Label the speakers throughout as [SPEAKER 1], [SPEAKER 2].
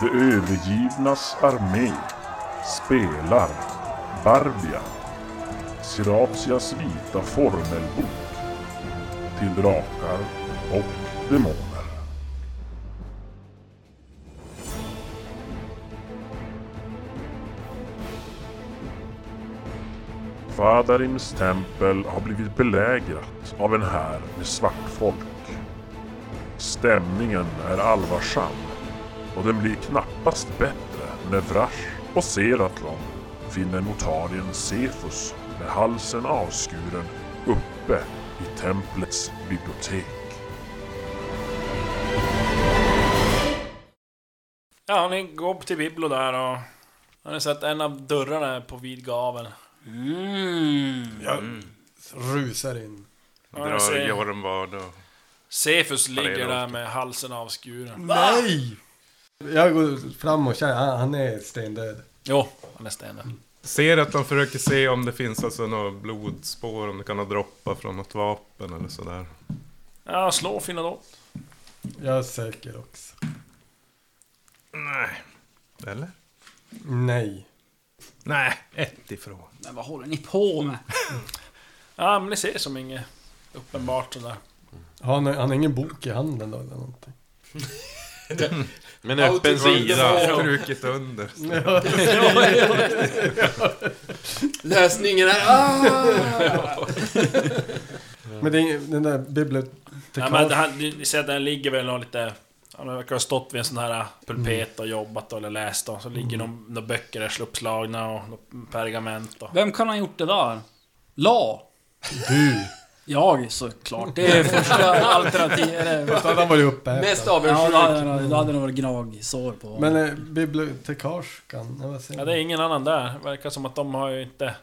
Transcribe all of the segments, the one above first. [SPEAKER 1] De övergivnas armé spelar Barbia, Siratias vita formelbok till drakar och demoner. Fadarims tempel har blivit belägrat av en här med svartfolk. Stämningen är allvarsam och den blir knappast bättre när Vrash och Seratlon finner notarien Sefus med halsen avskuren uppe i templets bibliotek.
[SPEAKER 2] Ja, ni går upp till Biblo där och... Har ni sett en av dörrarna är på vid gavel? Mm.
[SPEAKER 3] Jag rusar in.
[SPEAKER 2] Ja, jag ser.
[SPEAKER 4] Drar Jormbad och...
[SPEAKER 2] Sefus ligger
[SPEAKER 4] Parera
[SPEAKER 2] där
[SPEAKER 4] åt.
[SPEAKER 2] med halsen avskuren.
[SPEAKER 3] Nej! Jag går fram och känner, han, han är stendöd.
[SPEAKER 2] Jo, Mm. han är stendöd.
[SPEAKER 4] Ser att de försöker se om det finns alltså några blodspår, om det kan ha droppat från något vapen eller sådär.
[SPEAKER 2] Ja, slå och finna då.
[SPEAKER 3] Jag söker också.
[SPEAKER 4] Nej. Eller?
[SPEAKER 3] Nej.
[SPEAKER 4] Nej, ett ifrån.
[SPEAKER 5] Men vad håller ni på med?
[SPEAKER 2] Ja, men ni ser som inget uppenbart sådär.
[SPEAKER 3] Har han, han har ingen bok i handen då eller någonting?
[SPEAKER 6] Men
[SPEAKER 5] Ja,
[SPEAKER 6] öppen
[SPEAKER 5] och till-
[SPEAKER 6] sida.
[SPEAKER 4] Strukit under.
[SPEAKER 5] Lösningen är... Ah!
[SPEAKER 3] Men det är, ingen-
[SPEAKER 2] Nej, Mm. men
[SPEAKER 3] den där
[SPEAKER 2] det
[SPEAKER 3] bibliotekarien...
[SPEAKER 2] här, ni ni ser att den ligger väl någon lite... Han verkar ha stått vid en sån här äh, pulpet och jobbat eller läst och så ligger någon- några böcker där uppslagna och något pergament och...
[SPEAKER 5] Vem kan ha gjort det där? La?
[SPEAKER 3] Du!
[SPEAKER 5] Jag såklart. Det är första alternativet.
[SPEAKER 3] Han har varit uppe
[SPEAKER 7] Mest
[SPEAKER 5] Ja, då hade,
[SPEAKER 7] avundsjuk.
[SPEAKER 5] då hade det varit gnagsår på
[SPEAKER 3] Men eh, bibliotekarskan, nej, vad säger
[SPEAKER 2] Ja, det
[SPEAKER 3] man?
[SPEAKER 2] är ingen annan där. Verkar som att de har ju inte...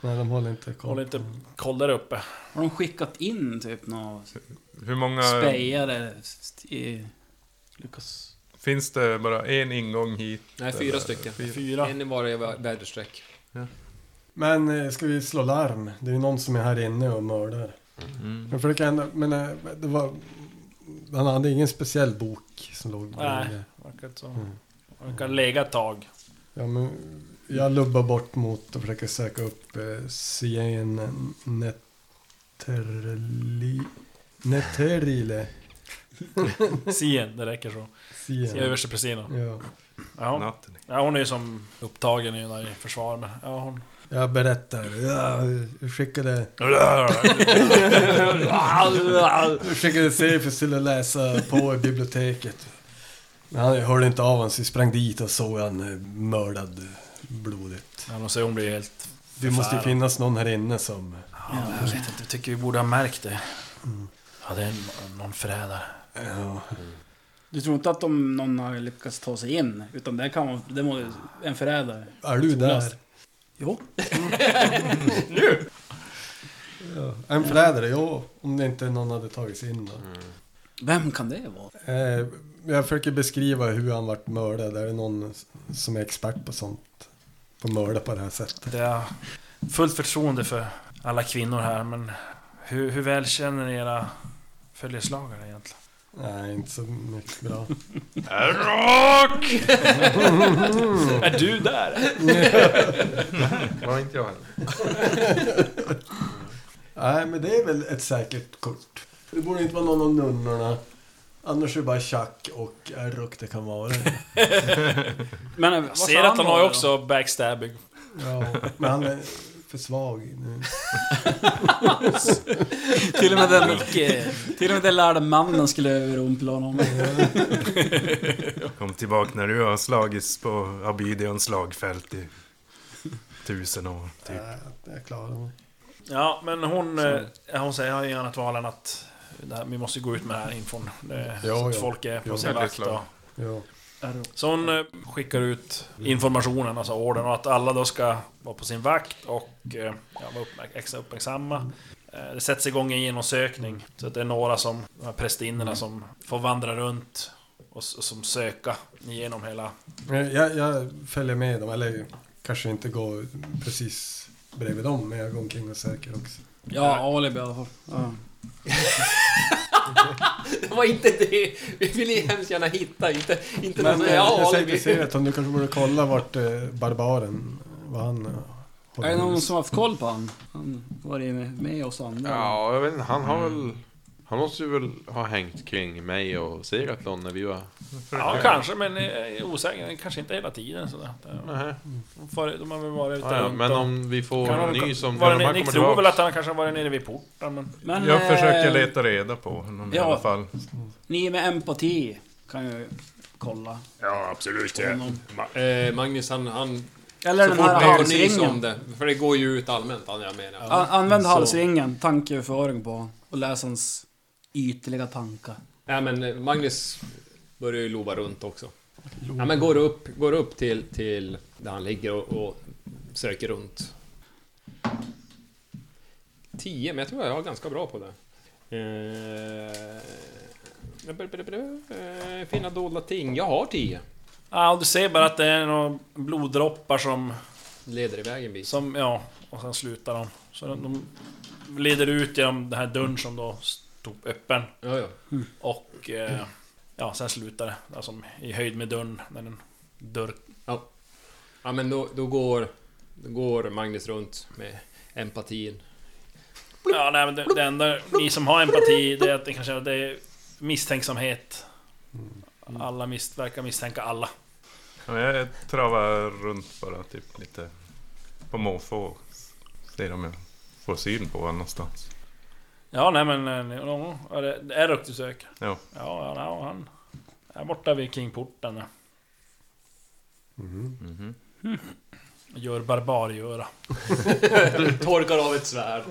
[SPEAKER 3] Nej, de håller inte koll.
[SPEAKER 2] Håller inte koll där uppe.
[SPEAKER 5] Har de skickat in typ någon
[SPEAKER 4] Hur många...
[SPEAKER 5] spejare? i- Lukas...
[SPEAKER 4] Finns det bara en ingång hit?
[SPEAKER 7] Nej, fyra stycken.
[SPEAKER 2] Fyra.
[SPEAKER 7] En i varje vä- väderstreck.
[SPEAKER 3] Men eh, ska vi slå larm? Det är ju någon som är här inne och mördar.
[SPEAKER 2] Mm.
[SPEAKER 3] Jag försöker ändå, men eh, det var... Han hade ingen speciell bok som låg
[SPEAKER 2] Nej.
[SPEAKER 3] bredvid.
[SPEAKER 2] Verkar inte som... Verkar lägga ett tag.
[SPEAKER 3] Ja, men jag lubbar bort mot och försöker söka upp eh, Sien Neterli... Neterile.
[SPEAKER 2] Sien, det räcker så.
[SPEAKER 3] Sien.
[SPEAKER 2] Överstepressinan.
[SPEAKER 3] Ja.
[SPEAKER 2] Ja, hon-
[SPEAKER 4] Natten.
[SPEAKER 2] ja, hon är ju som upptagen i där i försvar men... Ja, hon...
[SPEAKER 3] Jag berättar. Ja, jag skickade... Jag skickade Sefus till att läsa på i biblioteket. Men han hörde inte av honom så vi sprang dit och såg han eh, mördad blodigt.
[SPEAKER 2] Ja, de säger hon blir helt...
[SPEAKER 3] Det måste ju
[SPEAKER 2] Förfärad.
[SPEAKER 3] finnas någon här inne som...
[SPEAKER 2] Ja, jag vet inte, jag tycker vi borde ha märkt det. Ja, det är en- någon förrädare.
[SPEAKER 3] Ja,
[SPEAKER 5] Du tror inte att de, någon har lyckats ta sig in? Utan det kan vara... Det må, en förrädare.
[SPEAKER 3] är du där?
[SPEAKER 5] Jo.
[SPEAKER 3] Ja. En förrädare, ja. Om det inte någon hade tagit sig in då.
[SPEAKER 5] Vem kan det vara?
[SPEAKER 3] Eh, jag försöker beskriva hur han vart mördad. Är det någon som är expert på sånt? På mörda på det här sättet?
[SPEAKER 2] Det är fullt förtroende för alla kvinnor här, men hur, hur väl känner ni era följeslagare egentligen?
[SPEAKER 3] Nej, inte så mycket bra.
[SPEAKER 4] Rock!
[SPEAKER 2] Är du där?
[SPEAKER 4] Var inte jag heller.
[SPEAKER 3] Nej, men det är väl ett säkert kort. Det borde inte vara någon av nunnorna. Annars är det bara tjack och ärrock det kan vara.
[SPEAKER 5] Men eh, vad sa
[SPEAKER 2] Ser att han har
[SPEAKER 5] då?
[SPEAKER 2] ju också backstabbing.
[SPEAKER 3] Ja, men han är för svag nu.
[SPEAKER 5] Till och med den... till och med den lärde mannen skulle överrumpla honom.
[SPEAKER 4] Kom tillbaka när du har slagits på Abidions slagfält i tusen år, typ.
[SPEAKER 2] Eh.
[SPEAKER 3] Nej, jag klarar mig.
[SPEAKER 2] Ja, men hon, eh, hon säger jag har inget annat val än att det här, vi måste gå ut med den här infon. Det,
[SPEAKER 3] Ja,
[SPEAKER 2] så att
[SPEAKER 3] ja.
[SPEAKER 2] folk är på
[SPEAKER 3] Ja,
[SPEAKER 2] sin
[SPEAKER 4] det är
[SPEAKER 2] vakt.
[SPEAKER 4] klart.
[SPEAKER 2] och-
[SPEAKER 3] Ja.
[SPEAKER 2] Så hon eh, skickar ut informationen, alltså ordern, och att alla då ska vara på sin vakt och eh, ja, vara uppmärk- extra uppmärksamma. Eh, Det sätts igång en genomsökning, så att det är några som, de här prästinnorna som får vandra runt och, s- och som söka genom hela...
[SPEAKER 3] Men Jag, jag följer med dem, eller kanske inte går precis bredvid dem, men jag går omkring och söker också.
[SPEAKER 5] Ja, alibi i alla fall. Ja.
[SPEAKER 7] Det var inte det. Vi ville ju hemskt gärna hitta, inte, inte
[SPEAKER 3] Men
[SPEAKER 7] någon
[SPEAKER 3] eh, jag
[SPEAKER 7] ja,
[SPEAKER 3] säger
[SPEAKER 7] alibi.
[SPEAKER 3] till Sivert om du kanske borde kolla vart eh, barbaren, vad han eh,
[SPEAKER 5] Är det
[SPEAKER 3] hus.
[SPEAKER 5] någon som har haft koll på han? Han var inne med oss andra.
[SPEAKER 6] Ja, jag vet inte, han har
[SPEAKER 2] Mm.
[SPEAKER 6] väl... Han måste ju väl ha hängt kring mig och Seratlon när vi var...
[SPEAKER 2] Ja, kanske, men eh, jag är osäker. Kanske inte hela tiden sådär.
[SPEAKER 6] Nähä.
[SPEAKER 2] De far- De har väl varit ute
[SPEAKER 6] Ja, ja,
[SPEAKER 2] runt
[SPEAKER 6] men
[SPEAKER 2] och-
[SPEAKER 6] om vi får
[SPEAKER 2] Kan
[SPEAKER 6] en
[SPEAKER 2] de-
[SPEAKER 6] ny som...
[SPEAKER 2] var
[SPEAKER 6] Kan
[SPEAKER 2] det,
[SPEAKER 6] de här
[SPEAKER 2] ni
[SPEAKER 6] komma
[SPEAKER 2] tror väl
[SPEAKER 6] tillbaka?
[SPEAKER 2] att han kanske har varit nere vid porten, men...
[SPEAKER 5] Men,
[SPEAKER 4] Jag försöker
[SPEAKER 5] eh,
[SPEAKER 4] leta reda på honom i
[SPEAKER 5] ja.
[SPEAKER 4] alla fall.
[SPEAKER 5] Ni med empati kan ju kolla.
[SPEAKER 8] Ja, absolut.
[SPEAKER 5] Ja.
[SPEAKER 8] Ja.
[SPEAKER 7] Eh, Magnus, han... han
[SPEAKER 5] Eller
[SPEAKER 7] så
[SPEAKER 5] den här
[SPEAKER 7] fort vi får nys om
[SPEAKER 5] halsringen.
[SPEAKER 7] det. För det går ju ut allmänt, han jag menar.
[SPEAKER 5] A- Använd
[SPEAKER 7] Så-
[SPEAKER 5] halsringen, tankeöverföring på. Och läs hans ytliga tankar.
[SPEAKER 7] Nej men eh, Magnus börjar ju lova runt också. Ja, men går upp, går upp till, till där han ligger och, och söker runt. 10, men jag tror jag är ganska bra på det. Eh, br- br- br- eh, finna dolda ting. Jag har 10.
[SPEAKER 2] Ja, och du ser bara att det är några bloddroppar som...
[SPEAKER 7] Leder iväg en bit.
[SPEAKER 2] som ja, och sen slutar de. Så de, de leder ut genom den här dörren som då stod öppen.
[SPEAKER 7] Ja, ja.
[SPEAKER 2] Och... Eh, ja, sen slutar det. Alltså i höjd med dörren. När den dörr...
[SPEAKER 7] ja men då, då, går, då går Magnus runt med empatin.
[SPEAKER 2] Ja, nej, men det, det enda ni som har empati, det är att ni kan känna att det är misstänksamhet.
[SPEAKER 6] Mm.
[SPEAKER 2] Alla mis, verkar misstänka alla.
[SPEAKER 4] Ja, men jag travar runt bara typ lite på måfå. Ser om jag får syn på honom någonstans.
[SPEAKER 2] Ja, nej men... eh, ni- ja, Är det, är Ruck du söker?
[SPEAKER 4] Ja.
[SPEAKER 2] Ja, ja, ja han... Är borta vid kringporten. ja. Mm-hmm. Gör barbariöra.
[SPEAKER 7] Torkar av ett svärd.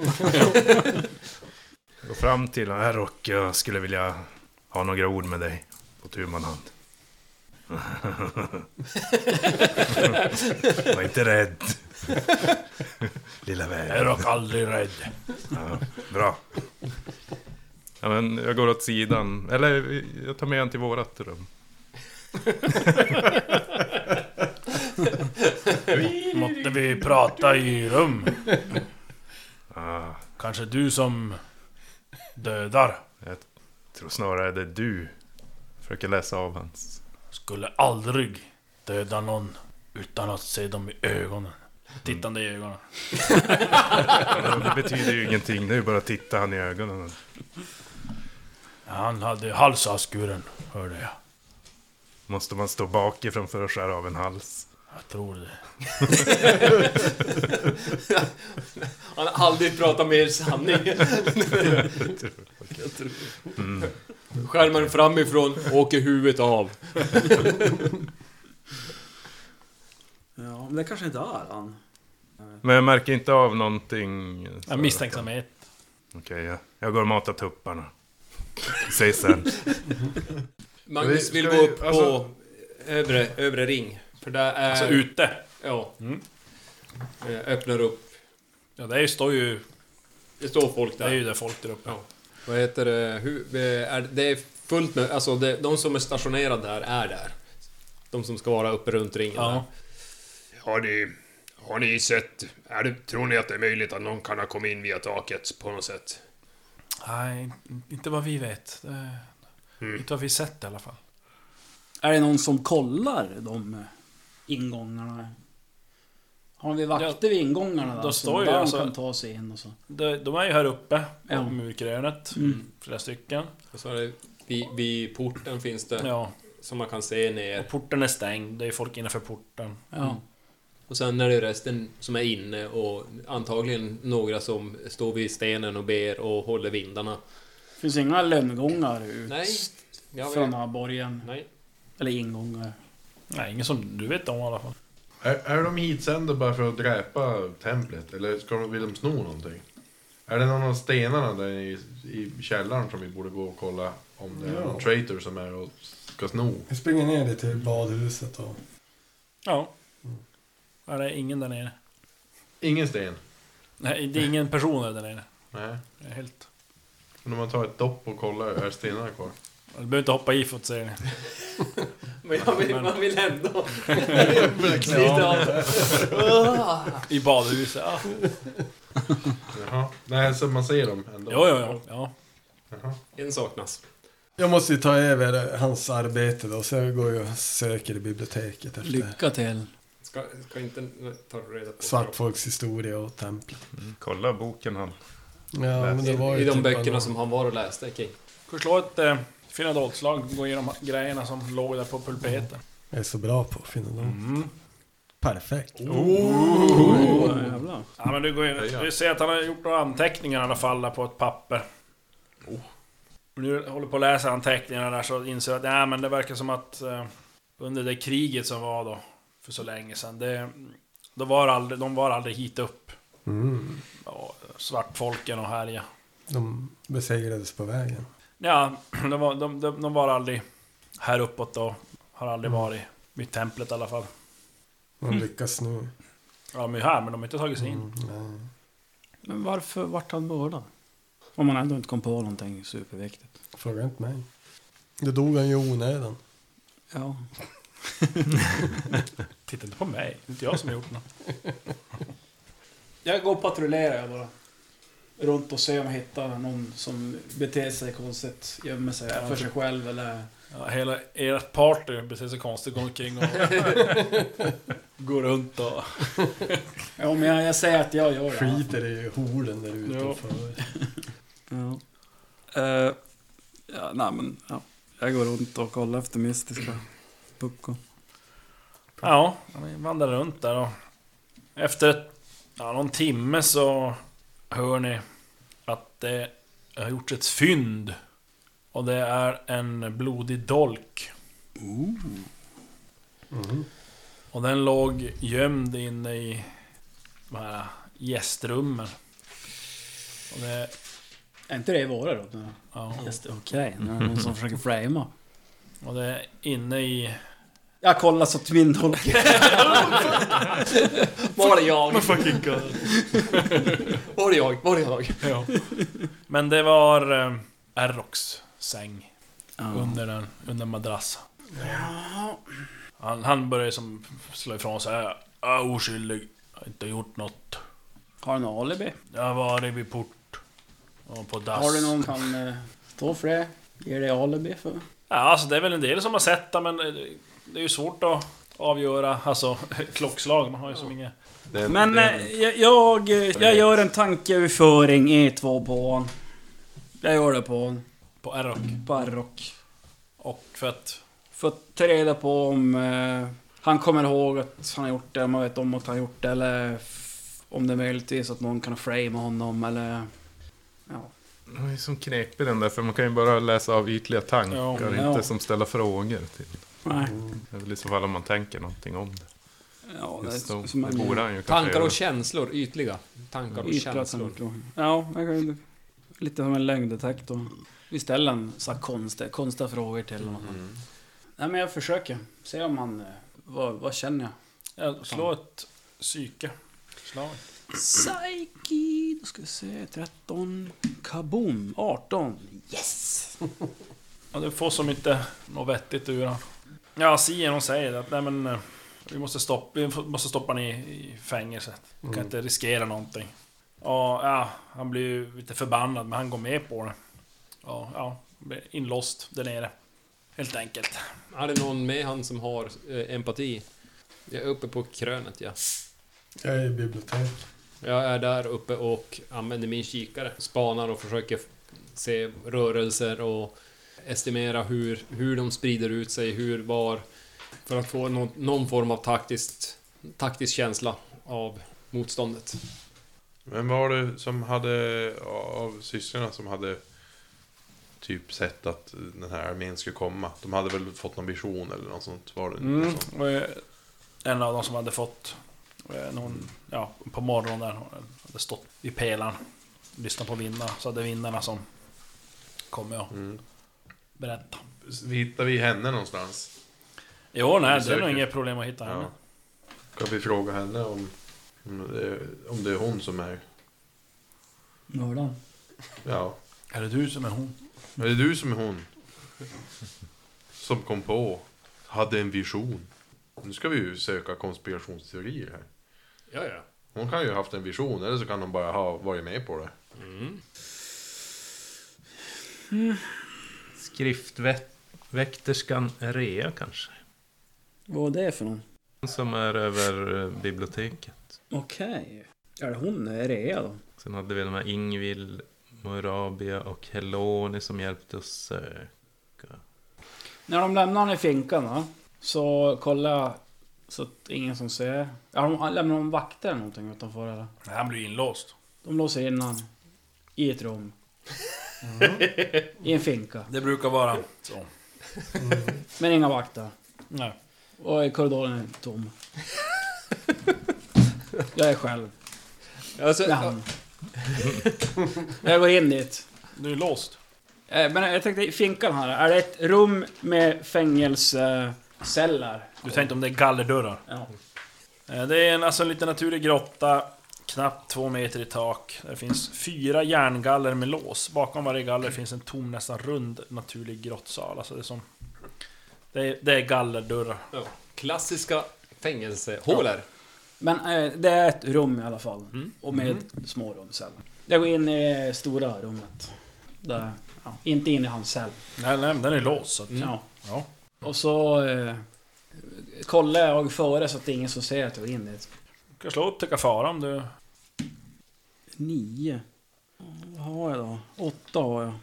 [SPEAKER 4] Gå fram till honom. Här och jag skulle vilja ha några ord med dig. På tu man hand. Var inte rädd. Lilla vän.
[SPEAKER 2] Är Ruck aldrig rädd?
[SPEAKER 4] Bra. Ja, men jag går åt sidan. Eller jag tar med honom till vårat rum.
[SPEAKER 2] Måtte vi prata i rum?
[SPEAKER 4] Ah,
[SPEAKER 2] Kanske du som dödar?
[SPEAKER 4] tror snarare det är du. Försöker läsa av hans.
[SPEAKER 2] Skulle aldrig döda någon utan att se dem i ögonen. Tittande i ögonen.
[SPEAKER 4] Ja, Det betyder ju ingenting. Det är ju bara att titta han i ögonen.
[SPEAKER 2] Han hade halsavskuren, hörde jag.
[SPEAKER 4] Måste man stå bakifrån för att skära av en hals?
[SPEAKER 2] Jag tror det.
[SPEAKER 7] Han har aldrig pratat mer sanning. Skärmar Mm. framifrån, åker huvudet av.
[SPEAKER 5] Ja, men det kanske inte är han.
[SPEAKER 4] Men jag märker inte av någonting.
[SPEAKER 2] Ja, misstänksamhet.
[SPEAKER 4] Okej, jag, jag går och matar tupparna. Ses sen.
[SPEAKER 7] Magnus
[SPEAKER 4] Ska
[SPEAKER 7] vill
[SPEAKER 4] vi-
[SPEAKER 7] gå upp
[SPEAKER 4] alltså-
[SPEAKER 7] på övre, övre ring. För där är...
[SPEAKER 2] Alltså ute.
[SPEAKER 7] Ja.
[SPEAKER 2] Mm.
[SPEAKER 7] Eh, Öppnar upp.
[SPEAKER 2] Ja, det är ju- står ju...
[SPEAKER 7] Det står folk
[SPEAKER 2] Det är
[SPEAKER 7] där.
[SPEAKER 2] ju där folk där uppe.
[SPEAKER 7] Ja. Vad heter det? Hur, eh, är, det är fullt med... Alltså det, de som är stationerade där är där. De som ska vara uppe runt ringen där.
[SPEAKER 2] Ja.
[SPEAKER 8] Har ni, har ni sett... Är det, tror ni att det är möjligt att någon kan ha kommit in via taket på något sätt?
[SPEAKER 2] Nej, inte vad vi vet. Det...
[SPEAKER 6] Mm.
[SPEAKER 2] Inte vad vi sett i alla fall.
[SPEAKER 5] Är det någon som kollar de eh, ingångarna? Har vi vakter vid ingångarna där?
[SPEAKER 2] Då
[SPEAKER 5] som
[SPEAKER 2] står ju
[SPEAKER 5] de
[SPEAKER 2] alltså-
[SPEAKER 5] kan ta sig in och så.
[SPEAKER 2] De, de är ju här uppe, på
[SPEAKER 5] Ja.
[SPEAKER 2] murkrönet. Flera stycken.
[SPEAKER 7] Och så är det... Vid, vid porten finns det.
[SPEAKER 2] Ja.
[SPEAKER 7] Som man kan se
[SPEAKER 2] Och
[SPEAKER 7] ner.
[SPEAKER 2] porten är stängd, det är folk innanför porten.
[SPEAKER 5] Ja.
[SPEAKER 7] Och sen är det resten som är inne och antagligen några som står vid stenen och ber och håller vindarna.
[SPEAKER 5] Finns inga lönngångar ut
[SPEAKER 7] Nej. Jag
[SPEAKER 5] från
[SPEAKER 7] vet.
[SPEAKER 5] den här borgen?
[SPEAKER 7] Nej.
[SPEAKER 5] Eller eh. ingångar?
[SPEAKER 2] Nej, ingen som du vet om i alla fall.
[SPEAKER 6] Är, är de hitsända bara för att dräpa templet? Eller ska de, vill de sno någonting? Är det någon av stenarna där i, i källaren som vi borde gå och kolla om det är
[SPEAKER 3] Ja.
[SPEAKER 6] någon traitor som är och ska sno?
[SPEAKER 3] Jag springer ner dit till badhuset och...
[SPEAKER 2] Ja. Ja, det är ingen där nere.
[SPEAKER 6] Ingen sten?
[SPEAKER 2] Nej, det är ingen person där nere.
[SPEAKER 6] Nej.
[SPEAKER 2] Det är helt...
[SPEAKER 6] Men om man tar ett dopp och kollar, är stenarna kvar?
[SPEAKER 2] Du behöver inte hoppa i för att se det.
[SPEAKER 7] Men jag vill, man vill ändå knyta
[SPEAKER 6] Ja.
[SPEAKER 7] av.
[SPEAKER 2] I badhuset, Ah. ja.
[SPEAKER 6] Jaha. Nej, så man ser dem ändå?
[SPEAKER 2] Jo, jo, jo. Ja.
[SPEAKER 7] En saknas.
[SPEAKER 3] Jag måste ju ta över hans arbete då, så jag går ju och söker i biblioteket efter
[SPEAKER 5] Lycka till.
[SPEAKER 7] Ska, ska inte ta reda på...
[SPEAKER 3] svartfolks historia och tempel.
[SPEAKER 4] Kolla boken han.
[SPEAKER 3] Ja, men det var ju
[SPEAKER 7] I de
[SPEAKER 3] typ
[SPEAKER 7] böckerna
[SPEAKER 3] bara-
[SPEAKER 7] som han var och läste kring.
[SPEAKER 2] Får slå ett eh, finadoltslag, gå igenom grejerna som låg där på pulpeten.
[SPEAKER 3] Jag är så bra på att finna dem. Perfekt.
[SPEAKER 5] Oh, jävlar.
[SPEAKER 2] Ja, men du, går in, du ser att han har gjort några anteckningar i alla fall där på ett papper. Oh. Och Nu håller på att läsa anteckningarna där så inser jag att nej, men det verkar som att eh, under det kriget som var då för så länge sedan. Det, då var aldrig, de var aldrig hit upp.
[SPEAKER 3] Mm.
[SPEAKER 2] Ja, svartfolken och härja.
[SPEAKER 3] De besegrades på vägen.
[SPEAKER 2] Ja, de var, de, de, de var aldrig här uppåt då. Har aldrig varit vid templet i alla fall.
[SPEAKER 3] De lyckas nu.
[SPEAKER 2] Ja, de är här men de har inte tagit sig in.
[SPEAKER 3] Mm, nej.
[SPEAKER 5] Men varför vart han mördad? Om man ändå inte kom på någonting superviktigt.
[SPEAKER 3] Fråga inte mig. Det dog han ju i onödan.
[SPEAKER 5] Ja.
[SPEAKER 2] Titta inte på mig, det är inte jag som har gjort något.
[SPEAKER 5] Jag går och patrullerar jag bara. Runt och ser om jag hittar någon som beter sig konstigt. Gömmer sig för sig själv eller...
[SPEAKER 2] Ja, hela ert party beter sig konstigt, går omkring och går runt och...
[SPEAKER 5] Ja men jag, jag säger att jag gör det.
[SPEAKER 3] Skiter i horden där ute.
[SPEAKER 5] Ja.
[SPEAKER 3] och för-
[SPEAKER 5] Ja. Eh, ja, nej men, ja. Jag går runt och kollar efter mystiska puckon.
[SPEAKER 2] Ja, vi vandrar runt där och... Efter ett, ja, någon timme så hör ni att det har gjorts ett fynd. Och det är en blodig dolk. Och den låg gömd inne i de här gästrummen. Och det...
[SPEAKER 5] Är inte det i våra då? Nej.
[SPEAKER 2] Ja,
[SPEAKER 5] Just det, Okej, nu är det någon som försöker framea.
[SPEAKER 2] och det är inne i...
[SPEAKER 5] Jag kollar så att min dolk...
[SPEAKER 7] Var det jag? Var det jag? Var det jag?
[SPEAKER 2] Men det var eh, Errox säng
[SPEAKER 5] Ja.
[SPEAKER 2] under den, under madrassen. Han, han började som slå ifrån sig. "Äh, Jag är oskyldig. Jag har inte gjort något.
[SPEAKER 5] Har du någon alibi?
[SPEAKER 2] Jag har varit vid port. Och på dass.
[SPEAKER 5] Har du någon som kan eh, stå för det? Ger dig alibi för?
[SPEAKER 2] Ja, alltså det är väl en del som har sett det, men det- det är ju svårt att avgöra. Alltså, klockslag. Man har ju som inget...
[SPEAKER 4] Det,
[SPEAKER 5] Men eh, jag, jag, eh, jag gör en tankeöverföring E2 på honom. Jag gör det på honom.
[SPEAKER 2] På Errox.
[SPEAKER 5] Barrock.
[SPEAKER 2] Och för att...
[SPEAKER 5] För att ta reda på om eh, han kommer ihåg att han har gjort det, om man vet om att han har gjort det eller f- om det är möjligtvis att någon kan framea honom eller... Ja.
[SPEAKER 4] Den är som knepig den där, för man kan ju bara läsa av ytliga tankar,
[SPEAKER 2] Ja,
[SPEAKER 4] inte
[SPEAKER 5] ja.
[SPEAKER 4] som ställa frågor. Till. Mm.
[SPEAKER 5] Nej.
[SPEAKER 4] Det är väl i så fall om man tänker någonting om det.
[SPEAKER 5] Ja, det är
[SPEAKER 4] Just då,
[SPEAKER 5] som
[SPEAKER 4] det borde han ju kanske
[SPEAKER 7] Tankar
[SPEAKER 4] göra.
[SPEAKER 7] och känslor, ytliga. Tankar och
[SPEAKER 5] Ytliga
[SPEAKER 7] känslor.
[SPEAKER 5] tankar. Ja, jag kan ju- lite som en lögndetektor. Vi ställer en så här konstiga, konstiga frågor till honom. Nej men jag försöker. Se om han... eh, Vad, vad känner jag?
[SPEAKER 2] Jag slå ett psyke. Slag.
[SPEAKER 5] Psyche, då ska vi se. 13. Kaboom, 18. Yes!
[SPEAKER 2] Ja, du får som inte något vettigt ur han. Ja, Sien hon säger att nej men... eh, Vi måste stoppa, vi måste stoppa honom i, i fängelset. Vi kan inte riskera någonting. Ja, ja, han blir ju lite förbannad men han går med på det. Ja, ja. han blir inlåst där nere. Helt enkelt.
[SPEAKER 7] Är det någon med han som har eh, empati? Jag är uppe på krönet, ja.
[SPEAKER 3] Jag är i bibliotek.
[SPEAKER 7] Jag är där uppe och använder min kikare. Spanar och försöker se rörelser och estimera hur, hur de sprider ut sig, hur, var. För att få någon, någon form av taktiskt, taktisk känsla av motståndet.
[SPEAKER 6] Vem var det som hade, av systrarna som hade typ sett att den här armén skulle komma? De hade väl fått någon vision eller något sånt? Var det något sånt?
[SPEAKER 2] Och, eh, en av dem som hade fått... eh, Någon, ja, på morgonen där. hon Hade stått vid pelaren. Lyssnat på vinnarna. Så hade vinnarna som... Kommer och berätta.
[SPEAKER 6] Hittar vi henne någonstans?
[SPEAKER 2] Jo, nej, det är
[SPEAKER 6] Besöker.
[SPEAKER 2] nog inget problem att hitta henne.
[SPEAKER 6] Ja. Kan vi fråga henne om, om, det, om det är hon som är...
[SPEAKER 5] Mördaren?
[SPEAKER 6] Ja.
[SPEAKER 2] Är det du som är hon?
[SPEAKER 6] Är det du som är hon? Som kom på, hade en vision. Nu ska vi ju söka konspirationsteorier här.
[SPEAKER 7] Ja, ja.
[SPEAKER 6] Hon kan ju ha haft en vision, eller så kan hon bara ha varit med på det.
[SPEAKER 4] Skriftväkterskan Rea kanske?
[SPEAKER 5] Vad är det för någon?
[SPEAKER 4] Hon som är över eh, biblioteket.
[SPEAKER 5] Okej. Är det hon? Är det jag då?
[SPEAKER 4] Sen hade vi de här Ingvild, Morabia och Heloni som hjälpte oss eh. söka.
[SPEAKER 5] När de lämnar honom i finkan va? Så kollar jag så att ingen som ser. Ja, de lämnar de vakter eller någonting utanför eller?
[SPEAKER 2] Nej, Han blir inlåst.
[SPEAKER 5] De låser in honom i ett rum. I en finka. Mm.
[SPEAKER 2] Det brukar vara så.
[SPEAKER 5] Men inga vakter.
[SPEAKER 2] Nej.
[SPEAKER 5] Och korridoren är tom. Jag är själv.
[SPEAKER 7] Alltså,
[SPEAKER 5] Med han. Jag går in dit.
[SPEAKER 2] Du är låst.
[SPEAKER 5] Eh, Men jag tänkte, finkan här. Är det ett rum med fängelseceller?
[SPEAKER 2] Du tänkte om det är gallerdörrar.
[SPEAKER 5] Ja.
[SPEAKER 2] Eh, Det är en, alltså en liten naturlig grotta, knappt två meter i tak. Där finns fyra järngaller med lås. Bakom varje galler finns en tom, nästan rund, naturlig grottsal. Alltså det är som... Det är, det är gallerdörrar.
[SPEAKER 7] ja, klassiska fängelsehålor.
[SPEAKER 5] Men eh, det är ett rum i alla fall. Och med små rum sen. Jag går in i stora rummet. Där, ja, inte in i hans cell.
[SPEAKER 2] Nej, nej, men den är låst. Så att,
[SPEAKER 5] Ja.
[SPEAKER 2] Mm. ja.
[SPEAKER 5] Och så eh, kollar jag före så att det är ingen som ser att jag går in dit.
[SPEAKER 2] Du kan slå upp till fara om du...
[SPEAKER 5] Nio. Vad har jag då? Åtta har jag.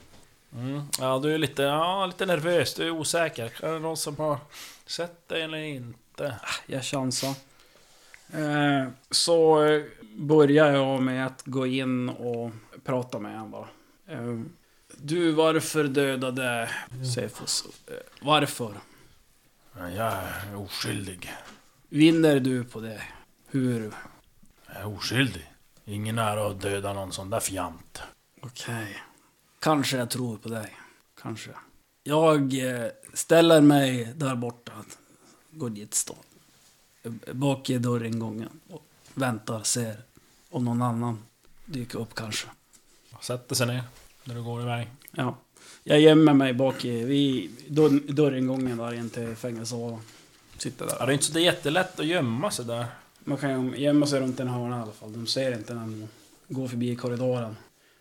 [SPEAKER 2] Mm. Ja, du är lite, ja, lite nervös, du är osäker. Är det någon som har sett dig eller inte?
[SPEAKER 5] Jag chansar. Eh, så eh, börjar jag med att gå in och prata med honom bara. Eh, du, varför dödade Cephus? Eh, varför?
[SPEAKER 2] Jag är oskyldig.
[SPEAKER 5] Vinner du på det? Hur?
[SPEAKER 2] Jag är oskyldig. Ingen ära att döda någon sån där fjant.
[SPEAKER 5] Okej. Kanske jag tror på dig. Kanske. Jag eh, ställer mig där borta. Går dit stå. Bak i dörringången. Och väntar, ser om någon annan dyker upp kanske.
[SPEAKER 2] Sätter sig ner när du går iväg.
[SPEAKER 5] Ja. Jag gömmer mig bak i vid dörr, dörringången där in till fängelsehålan. Sitter
[SPEAKER 2] Ja,
[SPEAKER 5] där.
[SPEAKER 2] det är inte så det är jättelätt att gömma sig där.
[SPEAKER 5] Man kan ju gömma sig runt en hörna i alla fall. De ser inte när de går förbi korridoren.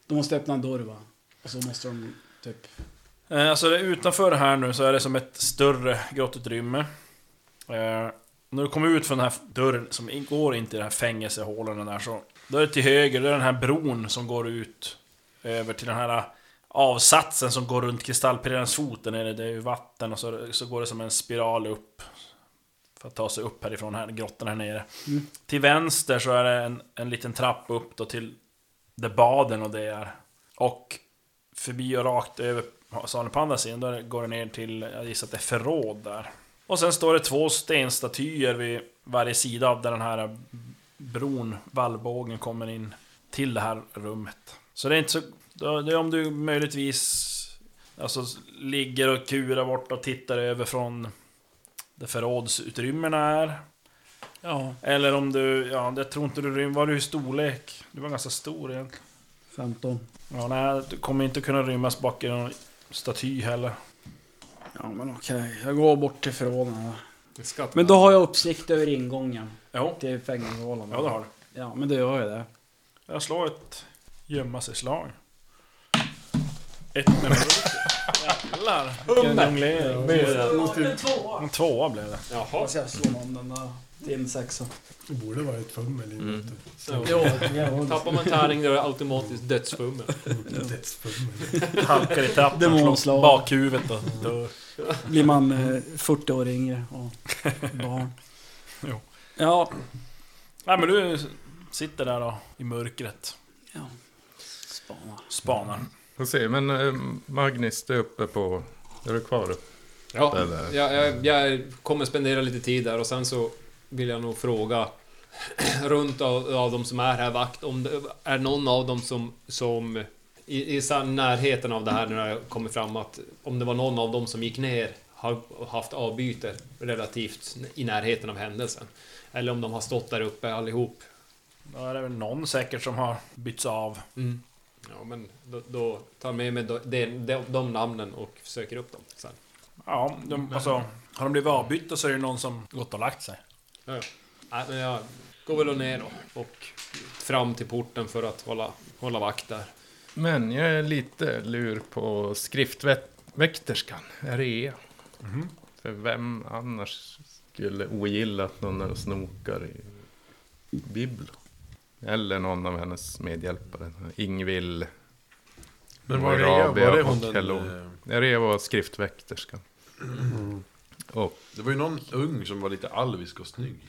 [SPEAKER 5] De måste öppna en dörr va? Och så måste de typ...
[SPEAKER 2] Eh, Alltså det, utanför här nu så är det som ett större grottutrymme. Eh, när du kommer ut från den här dörren som in- går in till den här fängelsehålan där så... Då är det till höger, det är den här bron som går ut över till den här eh, avsatsen som går runt kristallpirrarens fot. Där nere, det är ju vatten och så, så går det som en spiral upp. För att ta sig upp härifrån här, grottan här nere. Till vänster så är det en, en liten trapp upp då till där baden och det är. Och förbi och rakt över salen på andra sidan, då går det ner till, jag gissar att det är förråd där. Och sen står det två stenstatyer vid varje sida av där den här bron, vallbågen, kommer in till det här rummet. Så det är inte så... då- Det är om du möjligtvis alltså, ligger och kurar bort och tittar över från där förrådsutrymmena är.
[SPEAKER 5] Ja,
[SPEAKER 2] Eller om du, ja, jag tror inte du rymmer, var du i storlek? Du var ganska stor egentligen.
[SPEAKER 5] 15.
[SPEAKER 2] Ja, nej, du kommer inte kunna rymmas bak i någon staty heller.
[SPEAKER 5] Ja men okej, jag går bort till förråden här.
[SPEAKER 7] Skatt-
[SPEAKER 5] Men då har jag uppsikt över ingången
[SPEAKER 2] Jo,
[SPEAKER 5] till fängelsehålan.
[SPEAKER 2] ja det har du.
[SPEAKER 5] Ja, men då gör jag det.
[SPEAKER 2] Jag slår ett gömma sig-slag. Ett med mörker. Jävlar! vilken jonglering.
[SPEAKER 3] Måste,
[SPEAKER 2] En tvåa blev det.
[SPEAKER 7] Jaha.
[SPEAKER 5] ska slå om den där till en sexa.
[SPEAKER 3] det borde vara ett fummel inne. Mm.
[SPEAKER 5] Jo, jag
[SPEAKER 7] Tappar man tärning då är det automatiskt dödsfummel.
[SPEAKER 3] Dödsfummel.
[SPEAKER 2] Halkar i trappan,
[SPEAKER 5] Demonslag.
[SPEAKER 2] slår bakhuvudet och dör.
[SPEAKER 5] Blir man eh, 40 år yngre och barn.
[SPEAKER 2] Jo.
[SPEAKER 5] Ja,
[SPEAKER 2] Nej men du sitter där då, i mörkret.
[SPEAKER 5] ja. Spana.
[SPEAKER 2] Spanar.
[SPEAKER 4] Får se, men eh, Magnus, du är uppe på... Är du kvar uppe?
[SPEAKER 7] Ja,
[SPEAKER 4] Eller-
[SPEAKER 7] jag, jag, jag kommer spendera lite tid där och sen så vill jag nog fråga runt av, av de som är här vakt om det är någon av dem som, som i, i sann närheten av det här när jag kommer fram att om det var någon av dem som gick ner har haft avbyte relativt i närheten av händelsen. Eller om de har stått där uppe allihop.
[SPEAKER 2] Då är det väl någon säkert som har bytts av.
[SPEAKER 7] Ja, men då, då tar jag med mig de, de, de namnen och söker upp dem sen.
[SPEAKER 2] Ja, de, alltså... Har de blivit avbytta så är det någon som gått och lagt sig.
[SPEAKER 7] Ja, ja. Nej, Äh, men jag går väl ner då och fram till porten för att hålla, hålla vakt där.
[SPEAKER 9] Men jag är lite lur på skriftväkterskan, Rea. E?
[SPEAKER 6] Mhm.
[SPEAKER 9] För vem annars skulle ogilla att någon är och snokar i Bibeln? Eller någon av hennes medhjälpare, Ingvill.
[SPEAKER 6] Men
[SPEAKER 9] Och
[SPEAKER 6] var det, E?
[SPEAKER 9] Rabia
[SPEAKER 6] var det
[SPEAKER 9] och
[SPEAKER 6] hon den...
[SPEAKER 9] Hello.
[SPEAKER 6] eh, Mm.
[SPEAKER 9] Rea E var skriftväkterskan. Och
[SPEAKER 6] Det var ju någon ung som var lite alvisk och snygg.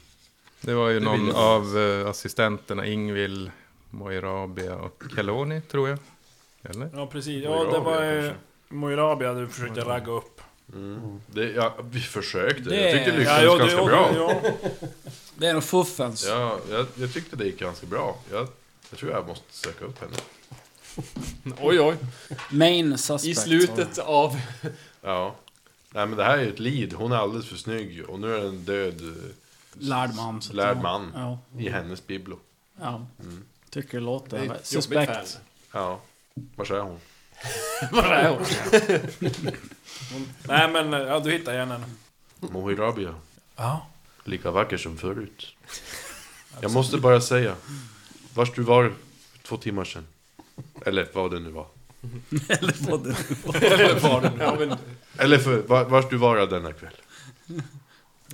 [SPEAKER 9] det var ju
[SPEAKER 6] Det
[SPEAKER 9] någon
[SPEAKER 6] vill jag.
[SPEAKER 9] av eh, assistenterna, Ingvill, Moirabia och Keloni, tror jag. Eller?
[SPEAKER 2] Ja, precis. Ja,
[SPEAKER 6] Moirabia
[SPEAKER 2] det var ju...
[SPEAKER 6] kanske.
[SPEAKER 2] Moirabia du försökte ragga upp.
[SPEAKER 6] Det, ja, vi försökte.
[SPEAKER 5] Det-
[SPEAKER 6] Jag tyckte det lyckades
[SPEAKER 2] Ja, jo,
[SPEAKER 6] ganska
[SPEAKER 2] jo,
[SPEAKER 6] bra.
[SPEAKER 2] jo.
[SPEAKER 5] Det är nog fuffens.
[SPEAKER 6] Ja, jag, jag tyckte det gick ganska bra. Jag, jag tror jag måste söka upp henne.
[SPEAKER 7] Oj, oj.
[SPEAKER 5] Main suspect.
[SPEAKER 7] I slutet av...
[SPEAKER 6] Ja. Nej men det här är ju ett lead. Hon är alldeles för snygg. Och nu är det en död eh,
[SPEAKER 5] Lärd man. så att
[SPEAKER 6] lärd
[SPEAKER 5] säga.
[SPEAKER 6] man
[SPEAKER 5] Ja.
[SPEAKER 6] i
[SPEAKER 2] Mm.
[SPEAKER 6] hennes biblo.
[SPEAKER 5] ja. Tycker det
[SPEAKER 7] Det är
[SPEAKER 5] låter
[SPEAKER 7] ett jobbigt
[SPEAKER 5] suspekt.
[SPEAKER 7] fan.
[SPEAKER 6] Ja. Var är hon?
[SPEAKER 7] Vad är hon?
[SPEAKER 2] Nej men, eh, ja du hittar igen henne.
[SPEAKER 6] Mohirabia.
[SPEAKER 2] Ja.
[SPEAKER 6] Lika vacker som förut. Jag måste bara säga. Vars du var för två timmar sedan. Eller vad det nu var.
[SPEAKER 5] Eller vad det
[SPEAKER 7] Eller var det nu? Ja, men
[SPEAKER 6] Eller för, var, vars du var denna kväll.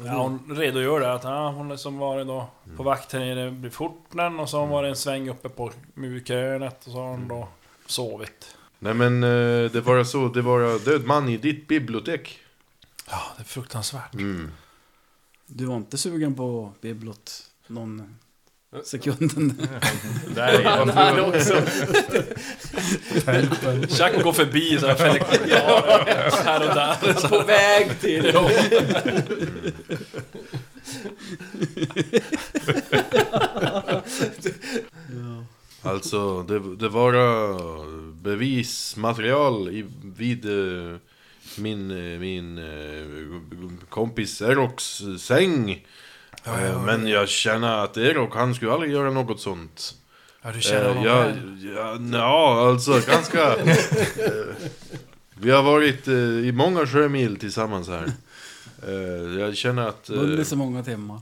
[SPEAKER 2] Ja, hon redogör där att ja, hon är som varit då på vakt här nere vid porten och så har hon varit en sväng uppe på murkrönet och så har hon då sovit.
[SPEAKER 6] Nej men eh, det var så. Det var död man i ditt bibliotek.
[SPEAKER 2] Ja, det är fruktansvärt.
[SPEAKER 6] Mm.
[SPEAKER 5] Du var inte sugen på biblot någon sekunden?
[SPEAKER 9] Nej, varför,
[SPEAKER 7] han också.
[SPEAKER 2] Jack går förbi så här fäller kommentarer här och där.
[SPEAKER 7] På väg till...
[SPEAKER 6] Alltså, det, det var bevismaterial i, vid eh, min, eh, min eh, kompis Eroks säng. Eh, Men jag känner att Erok, han skulle aldrig göra något sånt.
[SPEAKER 2] Ja, du
[SPEAKER 6] Eh, Ja, ja, ja, alltså ganska... eh, Vi har varit eh, i många sjömil tillsammans här. Eh, Jag känner att... eh,
[SPEAKER 5] Under så många timmar.